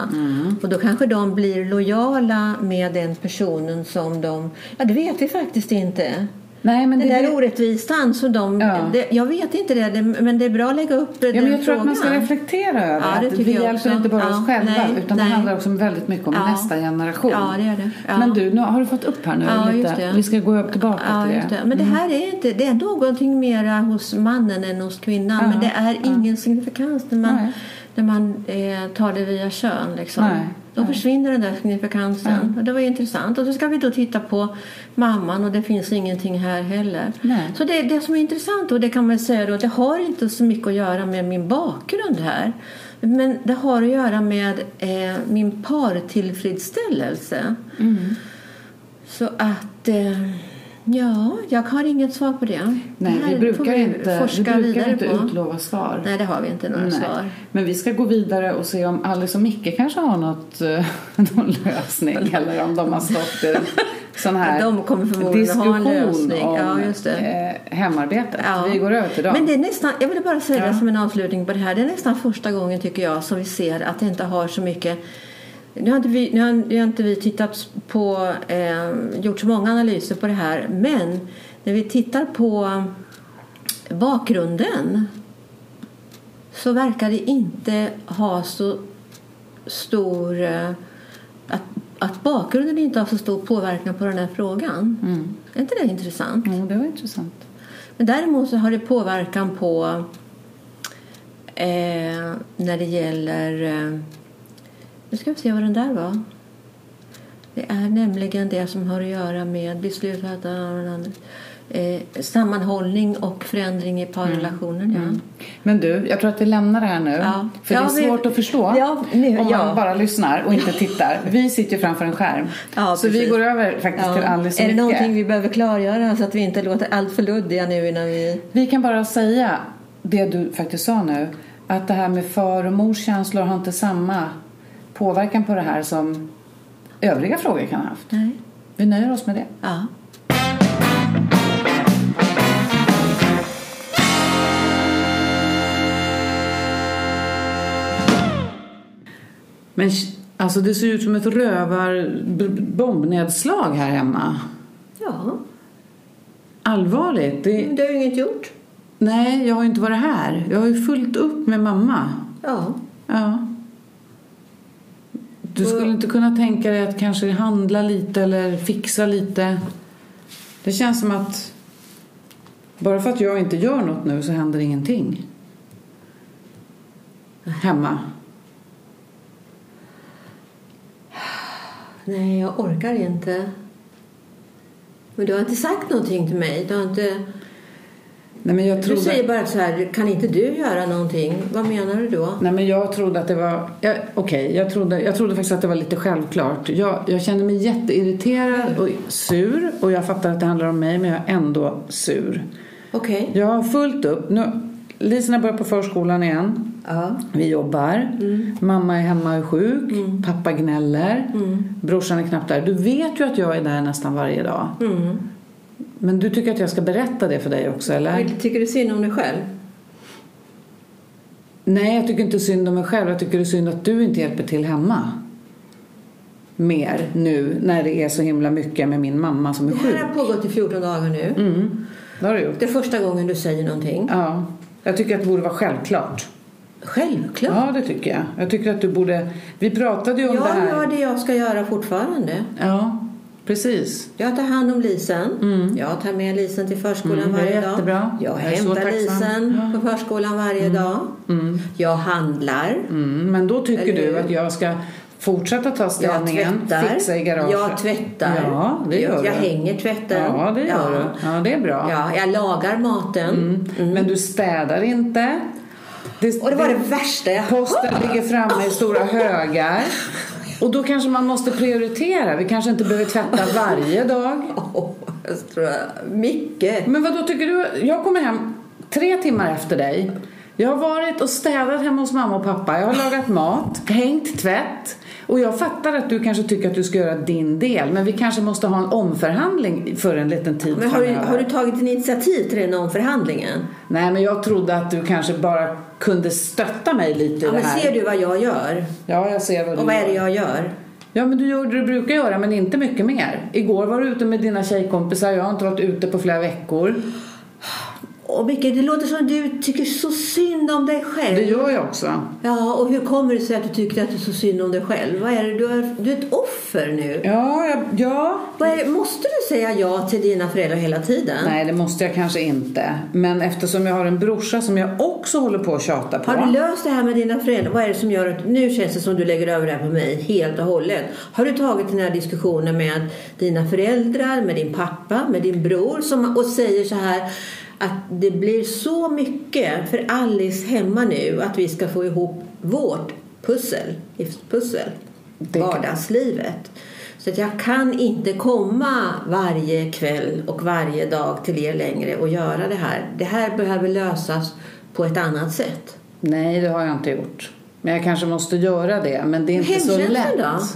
[SPEAKER 3] Och då kanske de blir lojala med den personen som de... Ja, det vet vi faktiskt inte.
[SPEAKER 2] Nej, men
[SPEAKER 3] Den
[SPEAKER 2] det,
[SPEAKER 3] där orättvisan som de...
[SPEAKER 2] Ja.
[SPEAKER 3] Det, jag vet inte det, det, men det är bra att lägga upp den
[SPEAKER 2] Ja, men jag tror
[SPEAKER 3] frågan.
[SPEAKER 2] att man ska reflektera över
[SPEAKER 3] Ja, det
[SPEAKER 2] att
[SPEAKER 3] tycker
[SPEAKER 2] vi
[SPEAKER 3] jag
[SPEAKER 2] hjälper
[SPEAKER 3] också.
[SPEAKER 2] inte bara
[SPEAKER 3] Ja,
[SPEAKER 2] oss själva
[SPEAKER 3] nej,
[SPEAKER 2] utan
[SPEAKER 3] nej.
[SPEAKER 2] det handlar också väldigt mycket om
[SPEAKER 3] Ja.
[SPEAKER 2] nästa generation.
[SPEAKER 3] Ja, det gör det. Ja.
[SPEAKER 2] Men du, nu har du fått upp här nu
[SPEAKER 3] Ja, just
[SPEAKER 2] lite.
[SPEAKER 3] det.
[SPEAKER 2] Vi ska gå upp tillbaka
[SPEAKER 3] Ja,
[SPEAKER 2] till det. Mm.
[SPEAKER 3] just det. Men det här är inte, det är någonting mera hos mannen än hos kvinnan.
[SPEAKER 2] Ja,
[SPEAKER 3] men det är ingen signifikans när man,
[SPEAKER 2] Nej.
[SPEAKER 3] när man eh, tar det via kön. Liksom.
[SPEAKER 2] Nej,
[SPEAKER 3] Då försvinner den där signifikansen. Och det var ju intressant. Och så ska vi då titta på mamman och det finns ingenting här heller.
[SPEAKER 2] Nej.
[SPEAKER 3] Så det, det som är intressant och det kan man säga då, det har inte så mycket att göra med min bakgrund här. Men det har att göra med eh, min partillfredsställelse. Så att, eh, ja, jag har inget svar på det.
[SPEAKER 2] Nej,
[SPEAKER 3] det här
[SPEAKER 2] vi
[SPEAKER 3] får
[SPEAKER 2] brukar inte, vi
[SPEAKER 3] forska
[SPEAKER 2] brukar
[SPEAKER 3] vidare
[SPEAKER 2] inte
[SPEAKER 3] på.
[SPEAKER 2] utlova svar.
[SPEAKER 3] Nej, det har vi inte några
[SPEAKER 2] Nej.
[SPEAKER 3] svar.
[SPEAKER 2] Men vi ska gå vidare och se om Alice och Micke kanske har något, eh, någon lösning eller om de har stått i en sån här
[SPEAKER 3] De kommer förmodligen ha en lösning.
[SPEAKER 2] om
[SPEAKER 3] Ja, just det.
[SPEAKER 2] eh, hemarbetet.
[SPEAKER 3] Ja.
[SPEAKER 2] Vi går över till dem.
[SPEAKER 3] Men det är nästan, jag vill bara säga
[SPEAKER 2] Ja.
[SPEAKER 3] det som en avslutning på det här. Det är nästan första gången tycker jag som vi ser att det inte har så mycket nu har, inte vi, nu, har, nu har inte vi tittat på, eh, gjort så många analyser på det här men när vi tittar på bakgrunden så verkar det inte ha så stor... eh, Att, att bakgrunden inte har så stor påverkan på den här frågan.
[SPEAKER 2] Mm.
[SPEAKER 3] Är inte det intressant?
[SPEAKER 2] Jo, det var intressant.
[SPEAKER 3] Men däremot så har det påverkan på eh, när det gäller... Eh, nu ska vi se vad den där var. Det är nämligen det som har att göra med beslut, eh, sammanhållning och förändring i parrelationen. Ja.
[SPEAKER 2] Men du, jag tror att vi lämnar det här nu.
[SPEAKER 3] Ja.
[SPEAKER 2] För
[SPEAKER 3] Ja,
[SPEAKER 2] det är
[SPEAKER 3] vi-
[SPEAKER 2] svårt att förstå
[SPEAKER 3] Ja, nu-
[SPEAKER 2] om man
[SPEAKER 3] ja.
[SPEAKER 2] bara lyssnar och inte tittar. Vi sitter ju framför en skärm.
[SPEAKER 3] Ja,
[SPEAKER 2] så vi
[SPEAKER 3] precis.
[SPEAKER 2] går över faktiskt till
[SPEAKER 3] Ja.
[SPEAKER 2] Alice
[SPEAKER 3] Är
[SPEAKER 2] och
[SPEAKER 3] det
[SPEAKER 2] Micke.
[SPEAKER 3] någonting vi behöver klargöra så att vi inte låter allt för luddiga nu innan vi...
[SPEAKER 2] Vi kan bara säga det du faktiskt sa nu. Att det här med far och mors känslor har inte samma påverkan på det här som övriga frågor kan ha haft.
[SPEAKER 3] Nej.
[SPEAKER 2] Vi nöjer oss med det.
[SPEAKER 3] Ja.
[SPEAKER 2] Men alltså det ser ut som ett rövar bombnedslag här hemma.
[SPEAKER 3] ja.
[SPEAKER 2] Allvarligt. Det,
[SPEAKER 3] Du har ju inget gjort.
[SPEAKER 2] nej, jag har ju inte varit här. Jag har ju fullt upp med mamma.
[SPEAKER 3] Ja.
[SPEAKER 2] Ja. Du skulle inte kunna tänka dig att kanske handla lite eller fixa lite? Det känns som att bara för att jag inte gör något nu så händer ingenting. Hemma.
[SPEAKER 3] Nej, jag orkar inte. Men du har inte sagt någonting till mig. Du, har inte...
[SPEAKER 2] Nej, men jag
[SPEAKER 3] du
[SPEAKER 2] trodde...
[SPEAKER 3] säger bara så här, kan inte du göra någonting? Vad menar du då?
[SPEAKER 2] Nej, men jag trodde att det var... Ja, Okej, jag, trodde, jag trodde faktiskt att det var lite självklart. Jag, jag känner mig jätteirriterad och sur och jag fattar att det handlar om mig men jag är ändå sur.
[SPEAKER 3] Okej.
[SPEAKER 2] Jag har fullt upp. Nu, Lisorna börjar på förskolan igen.
[SPEAKER 3] Ja.
[SPEAKER 2] Vi jobbar.
[SPEAKER 3] Mm.
[SPEAKER 2] Mamma är hemma och är sjuk. Pappa gnäller.
[SPEAKER 3] Mm.
[SPEAKER 2] Brorsan är knappt där. Du vet ju att jag är där nästan varje dag.
[SPEAKER 3] Mm.
[SPEAKER 2] Men du tycker att jag ska berätta det för dig också, eller?
[SPEAKER 3] Tycker du synd om dig själv?
[SPEAKER 2] Nej, jag tycker inte synd om mig själv. Jag tycker det är synd att du inte hjälper till hemma. Mer nu när det är så himla mycket med min mamma som är
[SPEAKER 3] Det här
[SPEAKER 2] sjuk.
[SPEAKER 3] har pågått i 14 dagar nu.
[SPEAKER 2] Mm, det har du gjort.
[SPEAKER 3] Det är första gången du säger någonting.
[SPEAKER 2] Ja, jag tycker att det borde vara självklart.
[SPEAKER 3] Självklart.
[SPEAKER 2] Ja, det tycker jag. Jag tycker att du borde... Vi pratade ju om det
[SPEAKER 3] Jag
[SPEAKER 2] här.
[SPEAKER 3] gör det jag ska göra fortfarande.
[SPEAKER 2] Ja, precis.
[SPEAKER 3] Jag tar hand om Lisen. Jag tar med Lisen till förskolan
[SPEAKER 2] Mm, det är
[SPEAKER 3] varje dag.
[SPEAKER 2] jättebra.
[SPEAKER 3] Jag
[SPEAKER 2] Jag är så
[SPEAKER 3] hämtar
[SPEAKER 2] tacksam.
[SPEAKER 3] Lisen på förskolan varje dag. Jag handlar.
[SPEAKER 2] Mm, men då tycker
[SPEAKER 3] Eller hur?
[SPEAKER 2] du att jag ska fortsätta ta
[SPEAKER 3] Jag
[SPEAKER 2] ställningen,
[SPEAKER 3] tvättar.
[SPEAKER 2] fixa i garaget.
[SPEAKER 3] Jag tvättar.
[SPEAKER 2] Ja, det gör
[SPEAKER 3] jag,
[SPEAKER 2] du.
[SPEAKER 3] Jag hänger tvätten.
[SPEAKER 2] Ja, det gör
[SPEAKER 3] ja.
[SPEAKER 2] du. Ja, det är bra.
[SPEAKER 3] Ja, jag lagar maten.
[SPEAKER 2] Mm. Men du städar inte. Det,
[SPEAKER 3] Och det var det värsta jag
[SPEAKER 2] Posten
[SPEAKER 3] hört.
[SPEAKER 2] ligger framme i stora högar. Och då kanske man måste prioritera. Vi kanske inte behöver tvätta varje dag.
[SPEAKER 3] Åh, Oh, jag tror jag- Mycket.
[SPEAKER 2] Men vad då tycker du? Jag kommer hem tre timmar efter dig. Jag har varit och städat hemma hos mamma och pappa. Jag har lagat mat, hängt tvätt. Och jag fattar att du kanske tycker att du ska göra din del. Men vi kanske måste ha en omförhandling för en liten tid
[SPEAKER 3] Men har du,
[SPEAKER 2] framöver.
[SPEAKER 3] har du tagit initiativ till den omförhandlingen?
[SPEAKER 2] Nej, men jag trodde att du kanske bara kunde stötta mig lite i
[SPEAKER 3] Ja,
[SPEAKER 2] det
[SPEAKER 3] men
[SPEAKER 2] här.
[SPEAKER 3] ser du vad jag gör?
[SPEAKER 2] Ja, jag ser vad du
[SPEAKER 3] Och vad är
[SPEAKER 2] gör.
[SPEAKER 3] det jag gör?
[SPEAKER 2] Ja, men du gör det du brukar göra, men inte mycket mer. Igår var du ute med dina tjejkompisar. Jag har inte varit ute på flera veckor.
[SPEAKER 3] Och Micke, det låter som att du tycker så synd om dig själv.
[SPEAKER 2] Det gör jag också.
[SPEAKER 3] Ja, och hur kommer det sig att du tycker att du är så synd om dig själv? Vad är det? Du är, du är ett offer nu.
[SPEAKER 2] Ja, jag, ja.
[SPEAKER 3] Vad är, måste du säga ja till dina föräldrar hela tiden?
[SPEAKER 2] Nej, det måste jag kanske inte. Men eftersom jag har en brorsa som jag också håller på att tjata på.
[SPEAKER 3] Har du löst det här med dina föräldrar? Vad är det som gör att nu känns det som du lägger över det här på mig helt och hållet? Har du tagit den här diskussionen med dina föräldrar, med din pappa, med din bror som, och säger så här att det blir så mycket för Alice hemma nu att vi ska få ihop vårt pussel, livspussel,
[SPEAKER 2] Det-
[SPEAKER 3] vardagslivet. Så att jag kan inte komma varje kväll och varje dag till er längre och göra det här. Det här behöver lösas på ett annat sätt.
[SPEAKER 2] Nej, det har jag inte gjort. Men jag kanske måste göra det. Men det är inte så
[SPEAKER 3] Hemtjänsten
[SPEAKER 2] lätt.
[SPEAKER 3] då?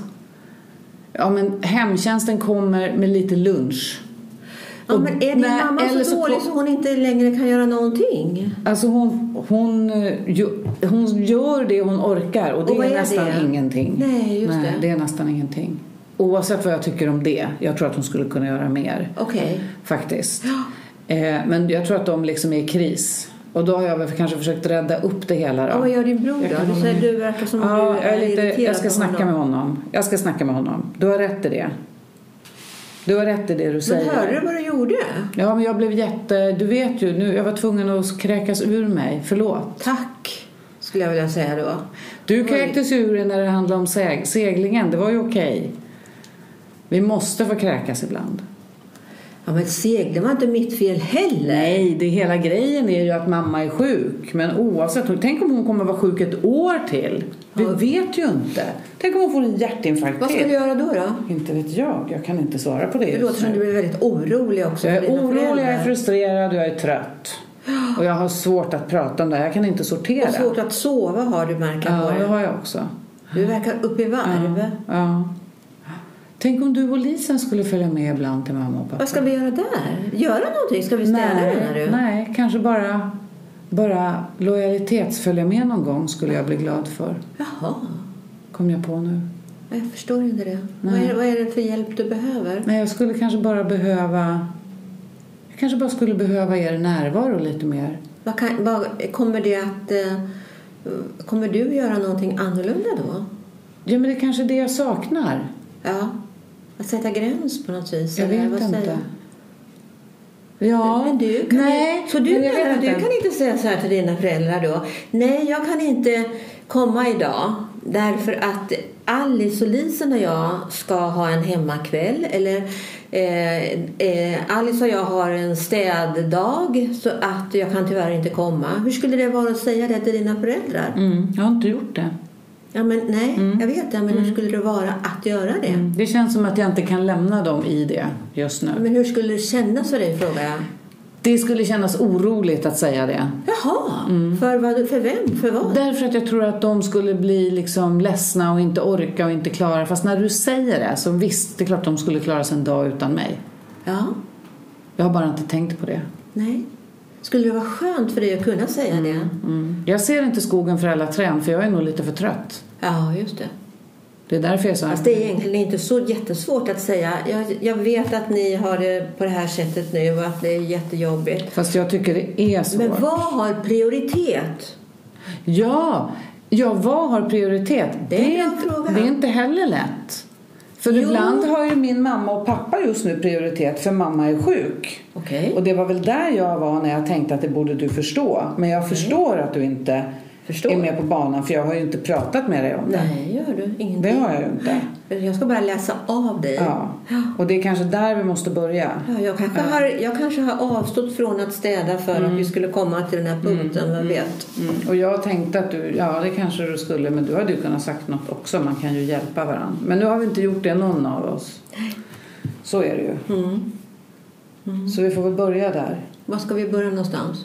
[SPEAKER 2] Ja, men hemtjänsten kommer med lite lunch.
[SPEAKER 3] Ja,
[SPEAKER 2] Och
[SPEAKER 3] men är din
[SPEAKER 2] när-
[SPEAKER 3] mamma
[SPEAKER 2] eller
[SPEAKER 3] så,
[SPEAKER 2] så
[SPEAKER 3] dålig
[SPEAKER 2] ko-
[SPEAKER 3] så hon inte längre kan göra någonting?
[SPEAKER 2] Alltså hon, hon, eh, ju- hon gör det hon orkar och det
[SPEAKER 3] Och vad
[SPEAKER 2] är,
[SPEAKER 3] är
[SPEAKER 2] nästan
[SPEAKER 3] det?
[SPEAKER 2] ingenting.
[SPEAKER 3] Nej, just det.
[SPEAKER 2] det är nästan ingenting. Oavsett vad jag tycker om det. Jag tror att hon skulle kunna göra mer.
[SPEAKER 3] Okej.
[SPEAKER 2] Faktiskt. Eh, men jag tror att de liksom är i kris. Och då har jag väl kanske försökt rädda upp det hela då.
[SPEAKER 3] Och vad gör din bror
[SPEAKER 2] Jag kan
[SPEAKER 3] då? Du
[SPEAKER 2] hålla
[SPEAKER 3] säger
[SPEAKER 2] med.
[SPEAKER 3] du verkar som om
[SPEAKER 2] Ja,
[SPEAKER 3] du
[SPEAKER 2] jag,
[SPEAKER 3] är
[SPEAKER 2] är lite,
[SPEAKER 3] irriterad
[SPEAKER 2] jag ska
[SPEAKER 3] på
[SPEAKER 2] snacka
[SPEAKER 3] honom.
[SPEAKER 2] med honom. Jag ska snacka med honom. Du har rätt i det. Du har rätt i det du
[SPEAKER 3] Men
[SPEAKER 2] säger.
[SPEAKER 3] hörde du vad du gjorde?
[SPEAKER 2] Ja, men jag blev jätte... Du vet ju, nu, jag var tvungen att kräkas ur mig. Förlåt.
[SPEAKER 3] Tack, skulle jag vilja säga då.
[SPEAKER 2] Du
[SPEAKER 3] Oj.
[SPEAKER 2] kräktes ur dig när det handlade om seg- seglingen. Det var ju okej. Vi måste få kräkas ibland.
[SPEAKER 3] Ja, men seg, det var inte mitt fel heller.
[SPEAKER 2] Nej, det hela grejen är ju att mamma är sjuk. Men oavsett, tänk om hon kommer vara sjuk ett år till. Vi
[SPEAKER 3] Ja.
[SPEAKER 2] vet ju inte. Tänk om hon får en hjärtinfarkt
[SPEAKER 3] Vad ska du
[SPEAKER 2] till.
[SPEAKER 3] göra då? då?
[SPEAKER 2] Inte vet jag. Jag kan inte svara på det
[SPEAKER 3] Det låter
[SPEAKER 2] just
[SPEAKER 3] som
[SPEAKER 2] nu.
[SPEAKER 3] du är väldigt orolig också.
[SPEAKER 2] Jag
[SPEAKER 3] för
[SPEAKER 2] är
[SPEAKER 3] dina
[SPEAKER 2] orolig, jag
[SPEAKER 3] föräldrar.
[SPEAKER 2] är frustrerad och jag är trött. Och jag har svårt att prata om det här. Jag kan inte sortera.
[SPEAKER 3] Och svårt att sova har du märkt
[SPEAKER 2] ja,
[SPEAKER 3] på
[SPEAKER 2] det
[SPEAKER 3] dig.
[SPEAKER 2] har jag också.
[SPEAKER 3] Du verkar upp i varv.
[SPEAKER 2] Ja. Tänk om du och Lisen skulle följa med ibland till mamma och pappa.
[SPEAKER 3] Vad ska vi göra där? Göra någonting? Ska vi städa menar du?
[SPEAKER 2] nej, nej, kanske bara, bara lojalitetsfölja med någon gång skulle jag bli glad för.
[SPEAKER 3] Jaha,
[SPEAKER 2] Kom jag på nu.
[SPEAKER 3] jag förstår inte det. Vad är, vad är det för hjälp du behöver?
[SPEAKER 2] Nej, jag skulle kanske bara behöva... Jag kanske bara skulle behöva er närvaro lite mer.
[SPEAKER 3] Vad kan, vad, kommer, det att, eh, kommer du göra någonting annorlunda då?
[SPEAKER 2] Ja, men det är kanske är det jag saknar.
[SPEAKER 3] Ja, att sätta gräns på något vis?
[SPEAKER 2] Jag
[SPEAKER 3] eller
[SPEAKER 2] vet
[SPEAKER 3] vad säger
[SPEAKER 2] inte.
[SPEAKER 3] du?
[SPEAKER 2] Ja,
[SPEAKER 3] Men du kan
[SPEAKER 2] nej,
[SPEAKER 3] ju, så du,
[SPEAKER 2] men jag
[SPEAKER 3] menar,
[SPEAKER 2] vet
[SPEAKER 3] att du
[SPEAKER 2] inte.
[SPEAKER 3] kan inte säga så här till dina föräldrar då. Nej, jag kan inte komma idag därför att Alice och Lisen och jag ska ha en hemmakväll eller eh, eh, Alice och jag har en städdag så att jag kan tyvärr inte komma. Hur skulle det vara att säga det till dina föräldrar?
[SPEAKER 2] Mm, jag har inte gjort det.
[SPEAKER 3] Ja, men nej, jag vet det, men hur skulle det vara att göra det?
[SPEAKER 2] Det känns som att jag inte kan lämna dem i det just nu.
[SPEAKER 3] Men hur skulle det kännas för dig, frågar jag.
[SPEAKER 2] Det skulle kännas oroligt att säga det.
[SPEAKER 3] Jaha, för, vad, för vem? För vad?
[SPEAKER 2] Därför att jag tror att de skulle bli liksom ledsna och inte orka och inte klara. Fast när du säger det så visst, det är klart de skulle klara sig en dag utan mig.
[SPEAKER 3] Ja.
[SPEAKER 2] Jag har bara inte tänkt på det.
[SPEAKER 3] Nej. Skulle det vara skönt för dig att kunna säga det?
[SPEAKER 2] Mm. Jag ser inte skogen för alla trän för jag är nog lite för trött.
[SPEAKER 3] Ja, just det.
[SPEAKER 2] Det är därför jag sa
[SPEAKER 3] Fast det är egentligen inte så jättesvårt att säga. Jag, jag vet att ni har det på det här sättet nu och att det är jättejobbigt.
[SPEAKER 2] Fast jag tycker det är svårt.
[SPEAKER 3] Men vad har prioritet?
[SPEAKER 2] Ja, ja, vad har prioritet?
[SPEAKER 3] Det är en bra
[SPEAKER 2] inte,
[SPEAKER 3] fråga.
[SPEAKER 2] det är inte heller lätt. För
[SPEAKER 3] Jo.
[SPEAKER 2] ibland har ju min mamma och pappa just nu prioritet för mamma är sjuk.
[SPEAKER 3] Okej.
[SPEAKER 2] Och det var väl där jag var när jag tänkte att det borde du förstå. Men jag förstår att du inte
[SPEAKER 3] Mm. Förstår.
[SPEAKER 2] är med på banan för jag har ju inte pratat med dig om det.
[SPEAKER 3] Nej, gör du ingenting?
[SPEAKER 2] Det har jag ju inte.
[SPEAKER 3] Jag ska bara läsa av dig.
[SPEAKER 2] Ja. Och det är kanske där vi måste börja.
[SPEAKER 3] Ja, jag, kanske har, jag kanske har avstått från att städa för att vi skulle komma till den här punkten, vem vet?
[SPEAKER 2] Mm. Och jag tänkte att du, ja det kanske du skulle, men du hade ju kunnat sagt något också. Man kan ju hjälpa varandra. Men nu har vi inte gjort det någon av oss. Så är det ju.
[SPEAKER 3] Mm.
[SPEAKER 2] Så vi får väl börja där.
[SPEAKER 3] Var ska vi börja någonstans?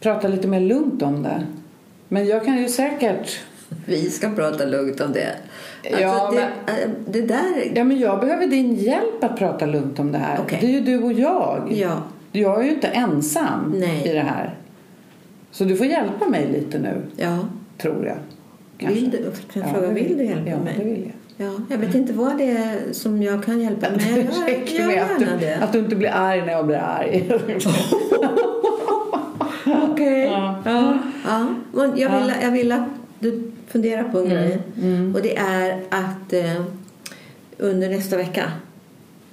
[SPEAKER 2] Prata lite mer lugnt om det. Men jag kan ju säkert...
[SPEAKER 3] Vi ska prata lugnt om det. Alltså,
[SPEAKER 2] Ja,
[SPEAKER 3] det, eh, det där...
[SPEAKER 2] Ja men jag behöver din hjälp att prata lugnt om det här.
[SPEAKER 3] Okej.
[SPEAKER 2] Det är ju du och jag.
[SPEAKER 3] Ja.
[SPEAKER 2] Jag är ju inte ensam
[SPEAKER 3] Nej.
[SPEAKER 2] i det här. Så du får hjälpa mig lite nu,
[SPEAKER 3] ja.
[SPEAKER 2] tror jag.
[SPEAKER 3] Vill du, kan jag
[SPEAKER 2] Ja,
[SPEAKER 3] fråga,
[SPEAKER 2] det
[SPEAKER 3] vill du hjälpa
[SPEAKER 2] ja,
[SPEAKER 3] mig?
[SPEAKER 2] det vill jag.
[SPEAKER 3] Ja, jag vet inte vad det är som jag kan hjälpa
[SPEAKER 2] Det
[SPEAKER 3] med.
[SPEAKER 2] räcker
[SPEAKER 3] Jag gör
[SPEAKER 2] med att
[SPEAKER 3] gärna
[SPEAKER 2] du,
[SPEAKER 3] det.
[SPEAKER 2] att du inte blir arg när jag blir arg.
[SPEAKER 3] Okej.
[SPEAKER 2] Ja.
[SPEAKER 3] Ja. Ja. Men Jag, vill, jag vill att du funderar på en
[SPEAKER 2] Mm.
[SPEAKER 3] grej. Och det är att eh, under nästa vecka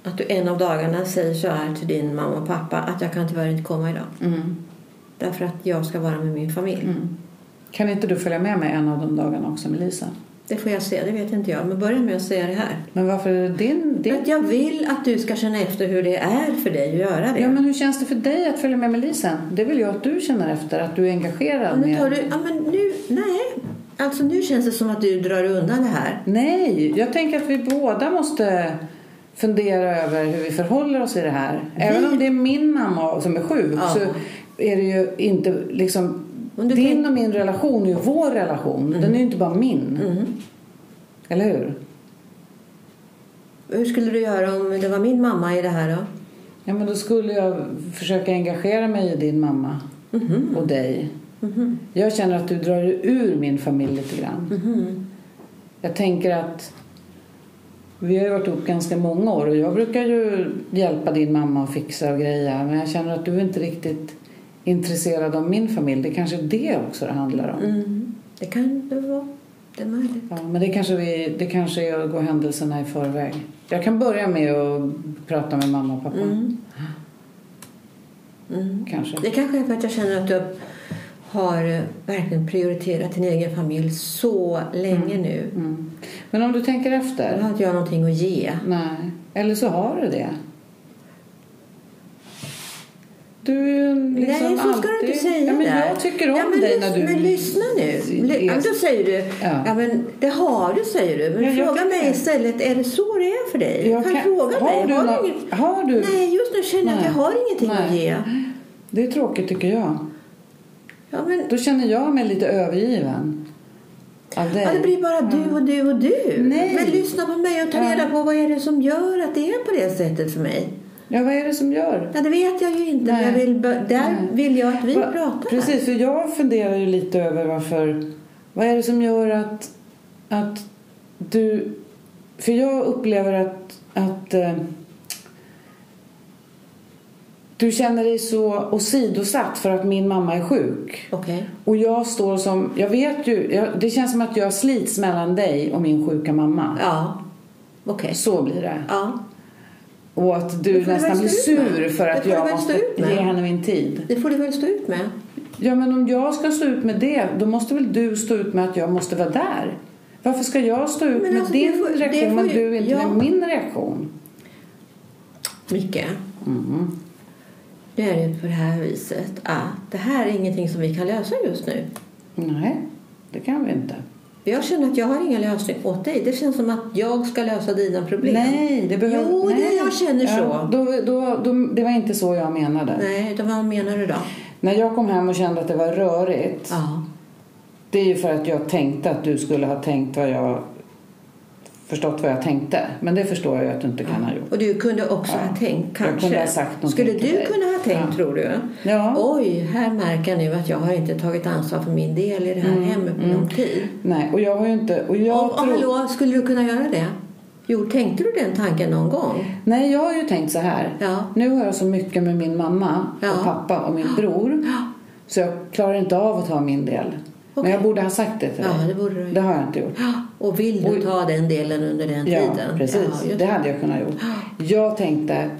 [SPEAKER 3] att du en av dagarna säger så här till din mamma och pappa att jag kan tyvärr inte komma idag.
[SPEAKER 2] Mm.
[SPEAKER 3] Därför att jag ska vara med min familj.
[SPEAKER 2] Mm. Kan inte du följa med mig en av de dagarna också med Lisa?
[SPEAKER 3] Det får jag se, det vet inte jag. Men börja med att säga det här.
[SPEAKER 2] Men varför är det din...
[SPEAKER 3] För
[SPEAKER 2] din...
[SPEAKER 3] att jag vill att du ska känna efter hur det är för dig att göra det.
[SPEAKER 2] Ja, men hur känns det för dig att följa med med Lisa? Det vill jag att du känner efter, att du är engagerad.
[SPEAKER 3] Men nu tar
[SPEAKER 2] med...
[SPEAKER 3] du, ja, men nu, nej. Alltså nu känns det som att du drar undan det här.
[SPEAKER 2] Nej, jag tänker att vi båda måste fundera över hur vi förhåller oss i det här. Även om det är min mamma som är sjuk
[SPEAKER 3] Ja.
[SPEAKER 2] så är det ju inte liksom...
[SPEAKER 3] Om du
[SPEAKER 2] din
[SPEAKER 3] tänk-
[SPEAKER 2] och
[SPEAKER 3] Mm.
[SPEAKER 2] min relation är ju vår relation. Den är ju inte bara min.
[SPEAKER 3] Mhm.
[SPEAKER 2] Eller hur?
[SPEAKER 3] Hur skulle du göra om det var min mamma i det här då?
[SPEAKER 2] Ja, men då skulle jag försöka engagera mig i din mamma
[SPEAKER 3] Mhm.
[SPEAKER 2] och dig. Jag känner att du drar dig ur min familj lite grann.
[SPEAKER 3] Mhm.
[SPEAKER 2] Jag tänker att vi har ju varit ihop ganska många år och jag brukar ju hjälpa din mamma att fixa och greja men jag känner att du inte riktigt är intresserad av min familj. Det kanske är det också det handlar om.
[SPEAKER 3] Mm. Det kan det vara. Det är möjligt.
[SPEAKER 2] Ja, men det kanske, vi, det kanske är att gå händelserna i förväg. Jag kan börja med att prata med mamma och pappa.
[SPEAKER 3] Mm.
[SPEAKER 2] Kanske.
[SPEAKER 3] Mhm. Det kanske är för att jag känner att du har eh, verkligen prioriterat din egen familj så länge nu.
[SPEAKER 2] Mm. Men om du tänker efter.
[SPEAKER 3] Då har inte jag någonting att ge.
[SPEAKER 2] Nej, eller så har du det. Du är ju en liksom
[SPEAKER 3] Nej, så ska
[SPEAKER 2] alltid...
[SPEAKER 3] du inte säga
[SPEAKER 2] ja, men
[SPEAKER 3] där.
[SPEAKER 2] Jag tycker om
[SPEAKER 3] ja, men
[SPEAKER 2] dig
[SPEAKER 3] lys-
[SPEAKER 2] när du...
[SPEAKER 3] Men lyssna nu. Ly- ja, men då säger du,
[SPEAKER 2] Ja.
[SPEAKER 3] ja. men det har du säger du. Men
[SPEAKER 2] Ja, jag
[SPEAKER 3] fråga
[SPEAKER 2] tycker
[SPEAKER 3] mig
[SPEAKER 2] det.
[SPEAKER 3] istället, är det så det är för dig?
[SPEAKER 2] Jag
[SPEAKER 3] kan,
[SPEAKER 2] kan-
[SPEAKER 3] fråga
[SPEAKER 2] har
[SPEAKER 3] mig.
[SPEAKER 2] du
[SPEAKER 3] har
[SPEAKER 2] nå-
[SPEAKER 3] du inget-
[SPEAKER 2] har du-
[SPEAKER 3] Nej, just nu känner jag att
[SPEAKER 2] Nej.
[SPEAKER 3] jag har ingenting att
[SPEAKER 2] Nej.
[SPEAKER 3] ge.
[SPEAKER 2] Det är tråkigt tycker jag.
[SPEAKER 3] Ja, men,
[SPEAKER 2] Då känner jag mig lite övergiven. Av dig.
[SPEAKER 3] ja, det blir bara du och du och du.
[SPEAKER 2] Nej.
[SPEAKER 3] Men lyssna på mig och ta
[SPEAKER 2] Ja.
[SPEAKER 3] reda på vad är det som gör att det är på det sättet för mig.
[SPEAKER 2] Ja, vad är det som gör?
[SPEAKER 3] Ja, det vet jag ju inte.
[SPEAKER 2] Nej.
[SPEAKER 3] Men jag vill, bö- där
[SPEAKER 2] Nej.
[SPEAKER 3] vill jag att vi
[SPEAKER 2] Va-
[SPEAKER 3] pratar.
[SPEAKER 2] Precis, för jag funderar ju lite över varför... Vad är det som gör att, att du... För jag upplever att, att eh, du känner dig så åsidosatt för att min mamma är sjuk.
[SPEAKER 3] Okej.
[SPEAKER 2] Och jag står som... Jag vet ju... Jag, det känns som att jag slits mellan dig och min sjuka mamma.
[SPEAKER 3] Ja. Okej.
[SPEAKER 2] Så blir det.
[SPEAKER 3] Ja.
[SPEAKER 2] Och att
[SPEAKER 3] Det
[SPEAKER 2] du
[SPEAKER 3] får du
[SPEAKER 2] nästan
[SPEAKER 3] väl
[SPEAKER 2] blir
[SPEAKER 3] stå ut med.
[SPEAKER 2] sur för
[SPEAKER 3] Det
[SPEAKER 2] att
[SPEAKER 3] får du
[SPEAKER 2] jag
[SPEAKER 3] väl stå
[SPEAKER 2] måste
[SPEAKER 3] ut med.
[SPEAKER 2] ge henne min tid.
[SPEAKER 3] Det får du väl stå ut med.
[SPEAKER 2] Ja, men om jag ska stå ut med det, då måste väl du stå ut med att jag måste vara där? Varför ska jag stå ut
[SPEAKER 3] Men
[SPEAKER 2] med
[SPEAKER 3] alltså,
[SPEAKER 2] din
[SPEAKER 3] det får- det
[SPEAKER 2] reaktion
[SPEAKER 3] får
[SPEAKER 2] men
[SPEAKER 3] ju-
[SPEAKER 2] du inte
[SPEAKER 3] ja.
[SPEAKER 2] med min reaktion?
[SPEAKER 3] Micke.
[SPEAKER 2] Mm.
[SPEAKER 3] Nu är det på det här viset att det här är ingenting som vi kan lösa just nu.
[SPEAKER 2] Nej, det kan vi inte.
[SPEAKER 3] Jag känner att jag har ingen lösning åt dig. Det känns som att jag ska lösa dina problem.
[SPEAKER 2] Nej, det behöver...
[SPEAKER 3] Jo, det-
[SPEAKER 2] Nej.
[SPEAKER 3] jag känner så.
[SPEAKER 2] Ja, då, då, då, det var inte så jag menade.
[SPEAKER 3] Nej, utan vad menar du då?
[SPEAKER 2] När jag kom hem och kände att det var rörigt,
[SPEAKER 3] Ja.
[SPEAKER 2] det är ju för att jag tänkte att du skulle ha tänkt vad jag... Förstått vad jag tänkte. Men det förstår jag ju att du inte kan ha gjort.
[SPEAKER 3] Och du kunde också
[SPEAKER 2] Ja.
[SPEAKER 3] ha tänkt
[SPEAKER 2] Jag
[SPEAKER 3] kanske.
[SPEAKER 2] kunde ha sagt någonting
[SPEAKER 3] Skulle
[SPEAKER 2] till
[SPEAKER 3] du
[SPEAKER 2] dig.
[SPEAKER 3] kunna ha tänkt
[SPEAKER 2] Ja.
[SPEAKER 3] tror du?
[SPEAKER 2] Ja.
[SPEAKER 3] Oj, här märker jag nu att jag har inte tagit ansvar för min del i det
[SPEAKER 2] Mm,
[SPEAKER 3] här hemmet på lång tid.
[SPEAKER 2] Nej, och jag har ju inte... Och jag
[SPEAKER 3] och, och
[SPEAKER 2] tror...
[SPEAKER 3] hallå, skulle du kunna göra det? Jo, tänkte du den tanken någon gång?
[SPEAKER 2] Nej, jag har ju tänkt så här.
[SPEAKER 3] Ja.
[SPEAKER 2] Nu har jag så mycket med min mamma
[SPEAKER 3] Ja.
[SPEAKER 2] och pappa och min bror så jag klarar inte av att ta min del. Men
[SPEAKER 3] Okej.
[SPEAKER 2] jag borde ha sagt det till
[SPEAKER 3] Ja,
[SPEAKER 2] dig.
[SPEAKER 3] det borde du ha
[SPEAKER 2] Det har jag inte gjort.
[SPEAKER 3] Och vill du
[SPEAKER 2] Oj.
[SPEAKER 3] ta den delen under den
[SPEAKER 2] Ja,
[SPEAKER 3] tiden?
[SPEAKER 2] precis.
[SPEAKER 3] Ja,
[SPEAKER 2] det hade jag kunnat gjort. Jag tänkte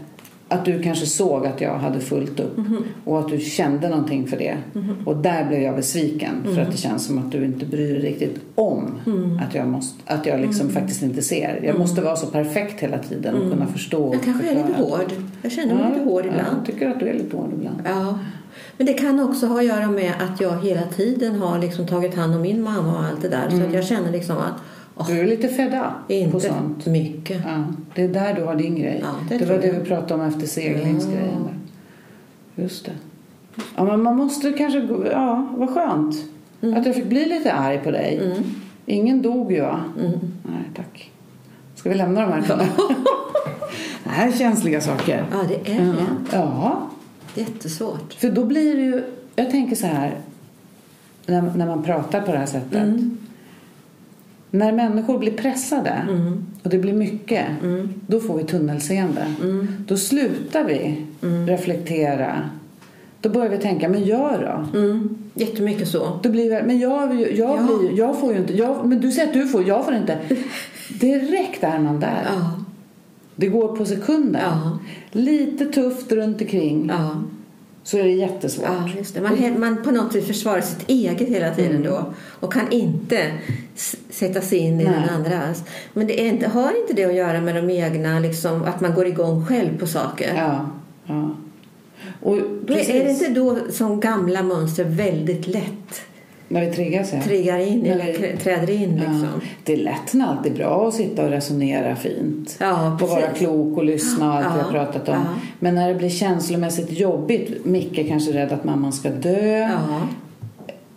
[SPEAKER 2] att du kanske såg att jag hade fullt upp
[SPEAKER 3] Mhm.
[SPEAKER 2] och att du kände någonting för det. Och där blev jag besviken för
[SPEAKER 3] Mhm.
[SPEAKER 2] att det känns som att du inte bryr dig riktigt om
[SPEAKER 3] Mm.
[SPEAKER 2] att jag, måste, att jag liksom faktiskt inte ser. Jag måste vara så perfekt hela tiden och kunna förstå och
[SPEAKER 3] Mm. Jag kanske är lite
[SPEAKER 2] förklara.
[SPEAKER 3] hård. Jag känner mig lite hård
[SPEAKER 2] Jag
[SPEAKER 3] ibland.
[SPEAKER 2] tycker att du är lite hård ibland.
[SPEAKER 3] Ja. Men det kan också ha att göra med att jag hela tiden har liksom tagit hand om min mamma och allt det där. Så att jag känner liksom att åh,
[SPEAKER 2] Du är lite fed up Mm. på
[SPEAKER 3] inte
[SPEAKER 2] sånt.
[SPEAKER 3] mycket.
[SPEAKER 2] Ja, det är där du har din grej.
[SPEAKER 3] Ja,
[SPEAKER 2] det
[SPEAKER 3] det
[SPEAKER 2] var
[SPEAKER 3] tror
[SPEAKER 2] det
[SPEAKER 3] jag.
[SPEAKER 2] vi pratade om efter seglingsgrejen. där. Just det. Ja, men man måste kanske... gå- Ja, vad skönt.
[SPEAKER 3] Mm.
[SPEAKER 2] Att jag fick bli lite arg på dig. Ingen dog ju, va?
[SPEAKER 3] Mm.
[SPEAKER 2] Nej, tack. Ska vi lämna de här? det här är känsliga saker.
[SPEAKER 3] Ja, det är
[SPEAKER 2] Ja.
[SPEAKER 3] det.
[SPEAKER 2] ja.
[SPEAKER 3] Jättesvårt.
[SPEAKER 2] För då blir det ju...
[SPEAKER 3] Mm.
[SPEAKER 2] Jag tänker så här, när, när man pratar på det här sättet. När människor blir pressade
[SPEAKER 3] Mm.
[SPEAKER 2] och det blir mycket, då får vi tunnelseende.
[SPEAKER 3] Mm.
[SPEAKER 2] Då slutar vi reflektera. Då börjar vi tänka, men jag då?
[SPEAKER 3] Mm. Jättemycket så.
[SPEAKER 2] Då blir vi, men jag, jag,
[SPEAKER 3] Ja.
[SPEAKER 2] blir, jag får ju inte, jag, men du säger att du får, jag får inte. Direkt är man där.
[SPEAKER 3] Ja.
[SPEAKER 2] Det går på sekunder.
[SPEAKER 3] Ja.
[SPEAKER 2] Lite tufft runt omkring
[SPEAKER 3] Ja.
[SPEAKER 2] så är det jättesvårt.
[SPEAKER 3] Ja, just det. Man, he- man på något sätt försvarar sitt eget hela tiden
[SPEAKER 2] Mm.
[SPEAKER 3] då och kan inte s- sätta sig in i
[SPEAKER 2] Nej.
[SPEAKER 3] den andras. Men det är inte, har inte det att göra med de egna, liksom, att man går igång själv på saker?
[SPEAKER 2] Ja, ja. Och
[SPEAKER 3] Men är det
[SPEAKER 2] precis,
[SPEAKER 3] inte då som gamla mönster väldigt lätt
[SPEAKER 2] när vi triggas. Ja.
[SPEAKER 3] triggar in
[SPEAKER 2] När
[SPEAKER 3] eller
[SPEAKER 2] vi-
[SPEAKER 3] krä- träder in? Liksom?
[SPEAKER 2] Ja. Det är lätt när allt är bra att sitta och resonera fint.
[SPEAKER 3] Ja,
[SPEAKER 2] och vara
[SPEAKER 3] precis.
[SPEAKER 2] klok och lyssna och allt vi
[SPEAKER 3] Ja,
[SPEAKER 2] har pratat om.
[SPEAKER 3] ja.
[SPEAKER 2] Men när det blir känslomässigt jobbigt, Micke kanske är rädd att mamman ska dö.
[SPEAKER 3] Ja.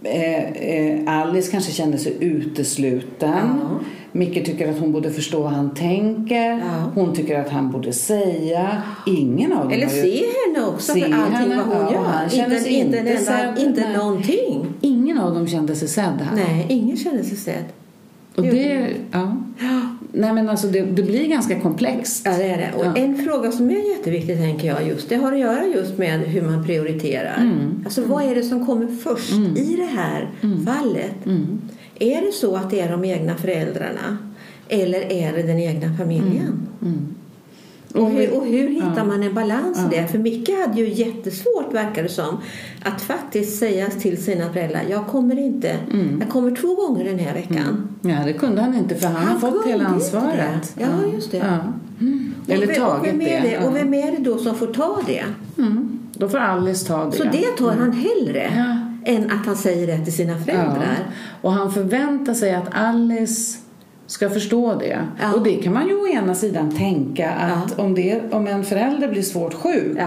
[SPEAKER 2] Eh, eh, Alice kanske känner sig utesluten.
[SPEAKER 3] Ja.
[SPEAKER 2] Micke tycker att hon borde förstå vad han tänker.
[SPEAKER 3] Ja.
[SPEAKER 2] Hon tycker att han borde säga. Ingen av dem
[SPEAKER 3] Eller
[SPEAKER 2] har ju...
[SPEAKER 3] se henne också
[SPEAKER 2] Se
[SPEAKER 3] för allting
[SPEAKER 2] henne,
[SPEAKER 3] vad hon
[SPEAKER 2] ja, han
[SPEAKER 3] gör.
[SPEAKER 2] känner
[SPEAKER 3] Inte,
[SPEAKER 2] sig
[SPEAKER 3] inte,
[SPEAKER 2] inte
[SPEAKER 3] inte, enda,
[SPEAKER 2] sedd,
[SPEAKER 3] inte
[SPEAKER 2] nej.
[SPEAKER 3] någonting.
[SPEAKER 2] Ingen av dem kände sig sedda.
[SPEAKER 3] Nej, ingen känner sig sedd.
[SPEAKER 2] Och
[SPEAKER 3] gjorde
[SPEAKER 2] det, ja. Nej, men alltså det, det blir ganska komplext.
[SPEAKER 3] Ja, det är det. Och
[SPEAKER 2] Ja.
[SPEAKER 3] En fråga som är jätteviktig tänker jag just, det har att göra just med hur man prioriterar.
[SPEAKER 2] Mm.
[SPEAKER 3] Alltså vad är det som kommer först i det här fallet?
[SPEAKER 2] Mm.
[SPEAKER 3] Är det så att det är de egna föräldrarna eller är det den egna familjen?
[SPEAKER 2] Mm.
[SPEAKER 3] Och hur, och hur hittar man en balans i det? För Micke hade ju jättesvårt, verkar det som, att faktiskt säga till sina föräldrar, jag kommer inte,
[SPEAKER 2] Mm.
[SPEAKER 3] jag kommer två gånger den här veckan.
[SPEAKER 2] Ja, det kunde han inte för han, har fått
[SPEAKER 3] kunde
[SPEAKER 2] hela
[SPEAKER 3] inte
[SPEAKER 2] ansvaret.
[SPEAKER 3] det. Ja, just det.
[SPEAKER 2] Ja. Mm. Eller
[SPEAKER 3] och vem, och
[SPEAKER 2] tagit
[SPEAKER 3] vem är
[SPEAKER 2] det.
[SPEAKER 3] det.
[SPEAKER 2] Ja.
[SPEAKER 3] Och vem är det då som får ta det?
[SPEAKER 2] Mm. Då får Alice ta det.
[SPEAKER 3] Så det tar han hellre
[SPEAKER 2] Ja.
[SPEAKER 3] än att han säger det till sina föräldrar.
[SPEAKER 2] Och han förväntar sig att Alice ska förstå det.
[SPEAKER 3] Ja.
[SPEAKER 2] Och det kan man ju å ena sidan tänka att om, det, om en förälder blir svårt sjuk,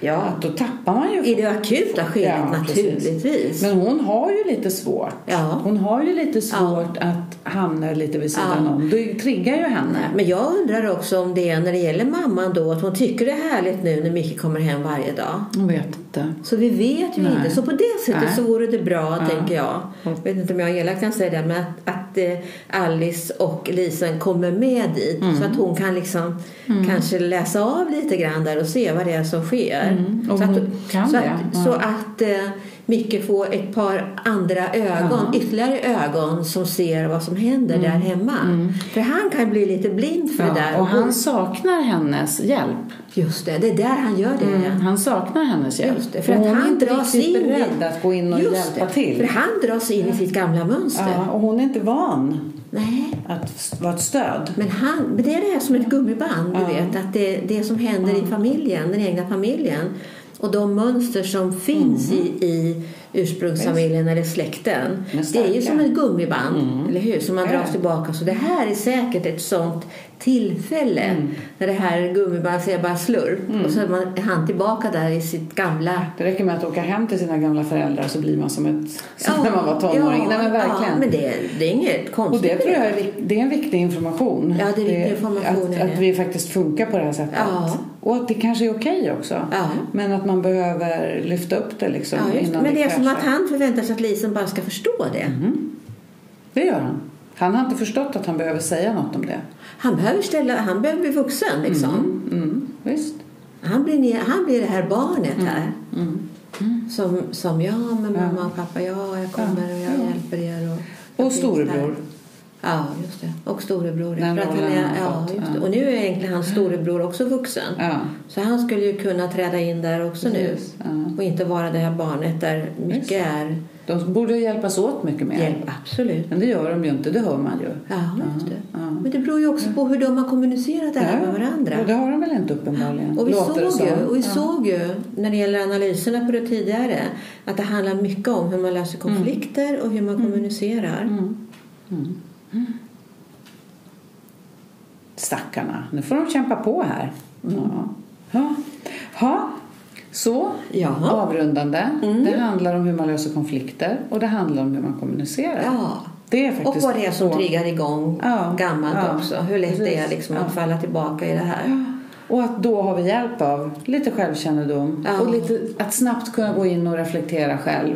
[SPEAKER 3] Ja.
[SPEAKER 2] att då tappar man ju
[SPEAKER 3] I det akuta skedet
[SPEAKER 2] Ja, precis.
[SPEAKER 3] naturligtvis.
[SPEAKER 2] Men hon har ju lite svårt.
[SPEAKER 3] Ja.
[SPEAKER 2] Hon har ju lite svårt att hamna lite vid sidan
[SPEAKER 3] Ja.
[SPEAKER 2] om. Det triggar ju henne.
[SPEAKER 3] Men jag undrar också om det är när det gäller mamman då att hon tycker det är härligt nu när Micke kommer hem varje dag.
[SPEAKER 2] Hon vet inte.
[SPEAKER 3] Så vi vet ju
[SPEAKER 2] Nej.
[SPEAKER 3] inte. Så på det sättet
[SPEAKER 2] Nej.
[SPEAKER 3] så vore det bra,
[SPEAKER 2] Ja.
[SPEAKER 3] tänker jag. Jag vet inte om jag är elak kan säga det, men att, att eh, Alice och Lisen kommer med dit. Så
[SPEAKER 2] Mm.
[SPEAKER 3] att hon kan liksom kanske läsa av lite grann där och se vad det är som sker.
[SPEAKER 2] Mm, och
[SPEAKER 3] Så, att,
[SPEAKER 2] hon kan
[SPEAKER 3] så,
[SPEAKER 2] det,
[SPEAKER 3] att,
[SPEAKER 2] ja.
[SPEAKER 3] så att eh, Micke får ett par andra ögon,
[SPEAKER 2] Ja. Mm.
[SPEAKER 3] ytterligare ögon som ser vad som händer där hemma. För han kan bli lite blind för
[SPEAKER 2] Ja,
[SPEAKER 3] det där.
[SPEAKER 2] och han saknar hennes hjälp. Mm.
[SPEAKER 3] Just det, det är där han gör det. ja.
[SPEAKER 2] Han saknar hennes hjälp.
[SPEAKER 3] Mm. Just det, för
[SPEAKER 2] och
[SPEAKER 3] att
[SPEAKER 2] hon
[SPEAKER 3] han
[SPEAKER 2] är inte
[SPEAKER 3] dras
[SPEAKER 2] riktigt
[SPEAKER 3] in i-
[SPEAKER 2] beredd att gå in och
[SPEAKER 3] Just
[SPEAKER 2] hjälpa
[SPEAKER 3] det, För
[SPEAKER 2] till. Mm.
[SPEAKER 3] han dras in i sitt gamla mönster.
[SPEAKER 2] Ja, och hon är inte van
[SPEAKER 3] Nej,
[SPEAKER 2] att f- vara ett stöd.
[SPEAKER 3] men, han, men det är det här som ett gummiband, du vet. Att det, det som händer i familjen, den egna familjen och de mönster som finns i, i ursprungsfamiljen eller släkten.
[SPEAKER 2] Mm. Men
[SPEAKER 3] Det är
[SPEAKER 2] starka.
[SPEAKER 3] ju
[SPEAKER 2] Mm.
[SPEAKER 3] som ett gummiband, eller hur? Som man
[SPEAKER 2] Ja.
[SPEAKER 3] dras tillbaka. Så det här är säkert ett sånt tillfälle
[SPEAKER 2] Mm.
[SPEAKER 3] när det här gummibandet säger bara slurp och så är man, är han tillbaka där i sitt gamla
[SPEAKER 2] Det räcker med att åka hem till sina gamla föräldrar så blir man som, ett, som när man var tonåring.
[SPEAKER 3] ja,
[SPEAKER 2] Nej, men verkligen.
[SPEAKER 3] Ja, men det, det är inget
[SPEAKER 2] Och
[SPEAKER 3] konstigt.
[SPEAKER 2] det
[SPEAKER 3] med
[SPEAKER 2] tror jag är, vik- det är en viktig information.
[SPEAKER 3] Ja, det är viktig information,
[SPEAKER 2] Att,
[SPEAKER 3] är det.
[SPEAKER 2] att vi faktiskt funkar på det här sättet.
[SPEAKER 3] Ja.
[SPEAKER 2] Och att det kanske är okej också.
[SPEAKER 3] Ja.
[SPEAKER 2] Men att man behöver lyfta upp det liksom
[SPEAKER 3] Ja, just, det.
[SPEAKER 2] innan
[SPEAKER 3] men det är som
[SPEAKER 2] kraschar. Mm.
[SPEAKER 3] att han förväntar sig att Lisen bara ska förstå det.
[SPEAKER 2] Det gör han. Han har inte förstått att han behöver säga något om det.
[SPEAKER 3] Han, behöver ställa, han behöver bli vuxen. Liksom.
[SPEAKER 2] Mm, visst.
[SPEAKER 3] Han, blir, ner- han blir det här barnet
[SPEAKER 2] Mm.
[SPEAKER 3] här. Som, som ja, men mamma och pappa, ja, jag kommer och jag hjälper er. Och, jag
[SPEAKER 2] Och
[SPEAKER 3] finns
[SPEAKER 2] storebror.
[SPEAKER 3] där. Ja, just det. Och storebror.
[SPEAKER 2] Den
[SPEAKER 3] För att han
[SPEAKER 2] rollen
[SPEAKER 3] är,
[SPEAKER 2] han har
[SPEAKER 3] ja,
[SPEAKER 2] fått,
[SPEAKER 3] just det.
[SPEAKER 2] ja.
[SPEAKER 3] Och nu är egentligen hans storebror också vuxen.
[SPEAKER 2] Ja.
[SPEAKER 3] Så han skulle ju kunna träda in där också
[SPEAKER 2] Precis,
[SPEAKER 3] nu.
[SPEAKER 2] ja.
[SPEAKER 3] Och inte vara det här barnet där
[SPEAKER 2] Just
[SPEAKER 3] Micke
[SPEAKER 2] det.
[SPEAKER 3] är.
[SPEAKER 2] De borde hjälpas åt mycket mer.
[SPEAKER 3] Hjälp, absolut.
[SPEAKER 2] Men det gör de ju inte, det hör man ju.
[SPEAKER 3] Ja, just det.
[SPEAKER 2] ja.
[SPEAKER 3] Men det beror ju också på hur de har kommunicerat det här med varandra.
[SPEAKER 2] Och det har de väl inte uppenbarligen.
[SPEAKER 3] Och vi,
[SPEAKER 2] Låter det
[SPEAKER 3] såg
[SPEAKER 2] som.
[SPEAKER 3] ju, och vi såg ju, när det gäller analyserna på det tidigare, att det handlar mycket om hur man
[SPEAKER 2] Mm.
[SPEAKER 3] löser konflikter och hur man kommunicerar.
[SPEAKER 2] Mm. Stackarna, nu får de kämpa på här.
[SPEAKER 3] Mm.
[SPEAKER 2] Ja. Ja. Ha. Så,
[SPEAKER 3] Jaha. Mm.
[SPEAKER 2] avrundande. Det handlar om hur man löser konflikter och det handlar om hur man kommunicerar.
[SPEAKER 3] Ja.
[SPEAKER 2] Det är
[SPEAKER 3] Och
[SPEAKER 2] faktiskt
[SPEAKER 3] vad det är som
[SPEAKER 2] så.
[SPEAKER 3] triggar igång
[SPEAKER 2] Ja,
[SPEAKER 3] gammalt
[SPEAKER 2] ja,
[SPEAKER 3] också. Hur lätt det är
[SPEAKER 2] precis.
[SPEAKER 3] liksom
[SPEAKER 2] Ja.
[SPEAKER 3] att falla tillbaka i det här.
[SPEAKER 2] Och att då har vi hjälp av lite självkännedom
[SPEAKER 3] Ja.
[SPEAKER 2] och lite, att snabbt kunna gå in och reflektera
[SPEAKER 3] Mm.
[SPEAKER 2] själv.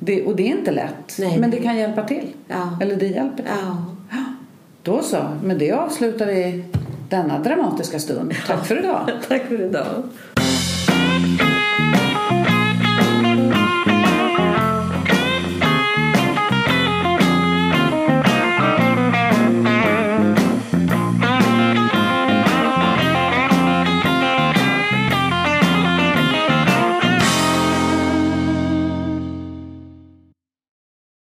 [SPEAKER 2] Det, och det är inte lätt,
[SPEAKER 3] Nej.
[SPEAKER 2] men det kan hjälpa till.
[SPEAKER 3] Ja.
[SPEAKER 2] Eller det hjälper till.
[SPEAKER 3] Ja.
[SPEAKER 2] Då så, men det avslutar vi denna dramatiska stund. Tack för idag.
[SPEAKER 3] Tack för idag.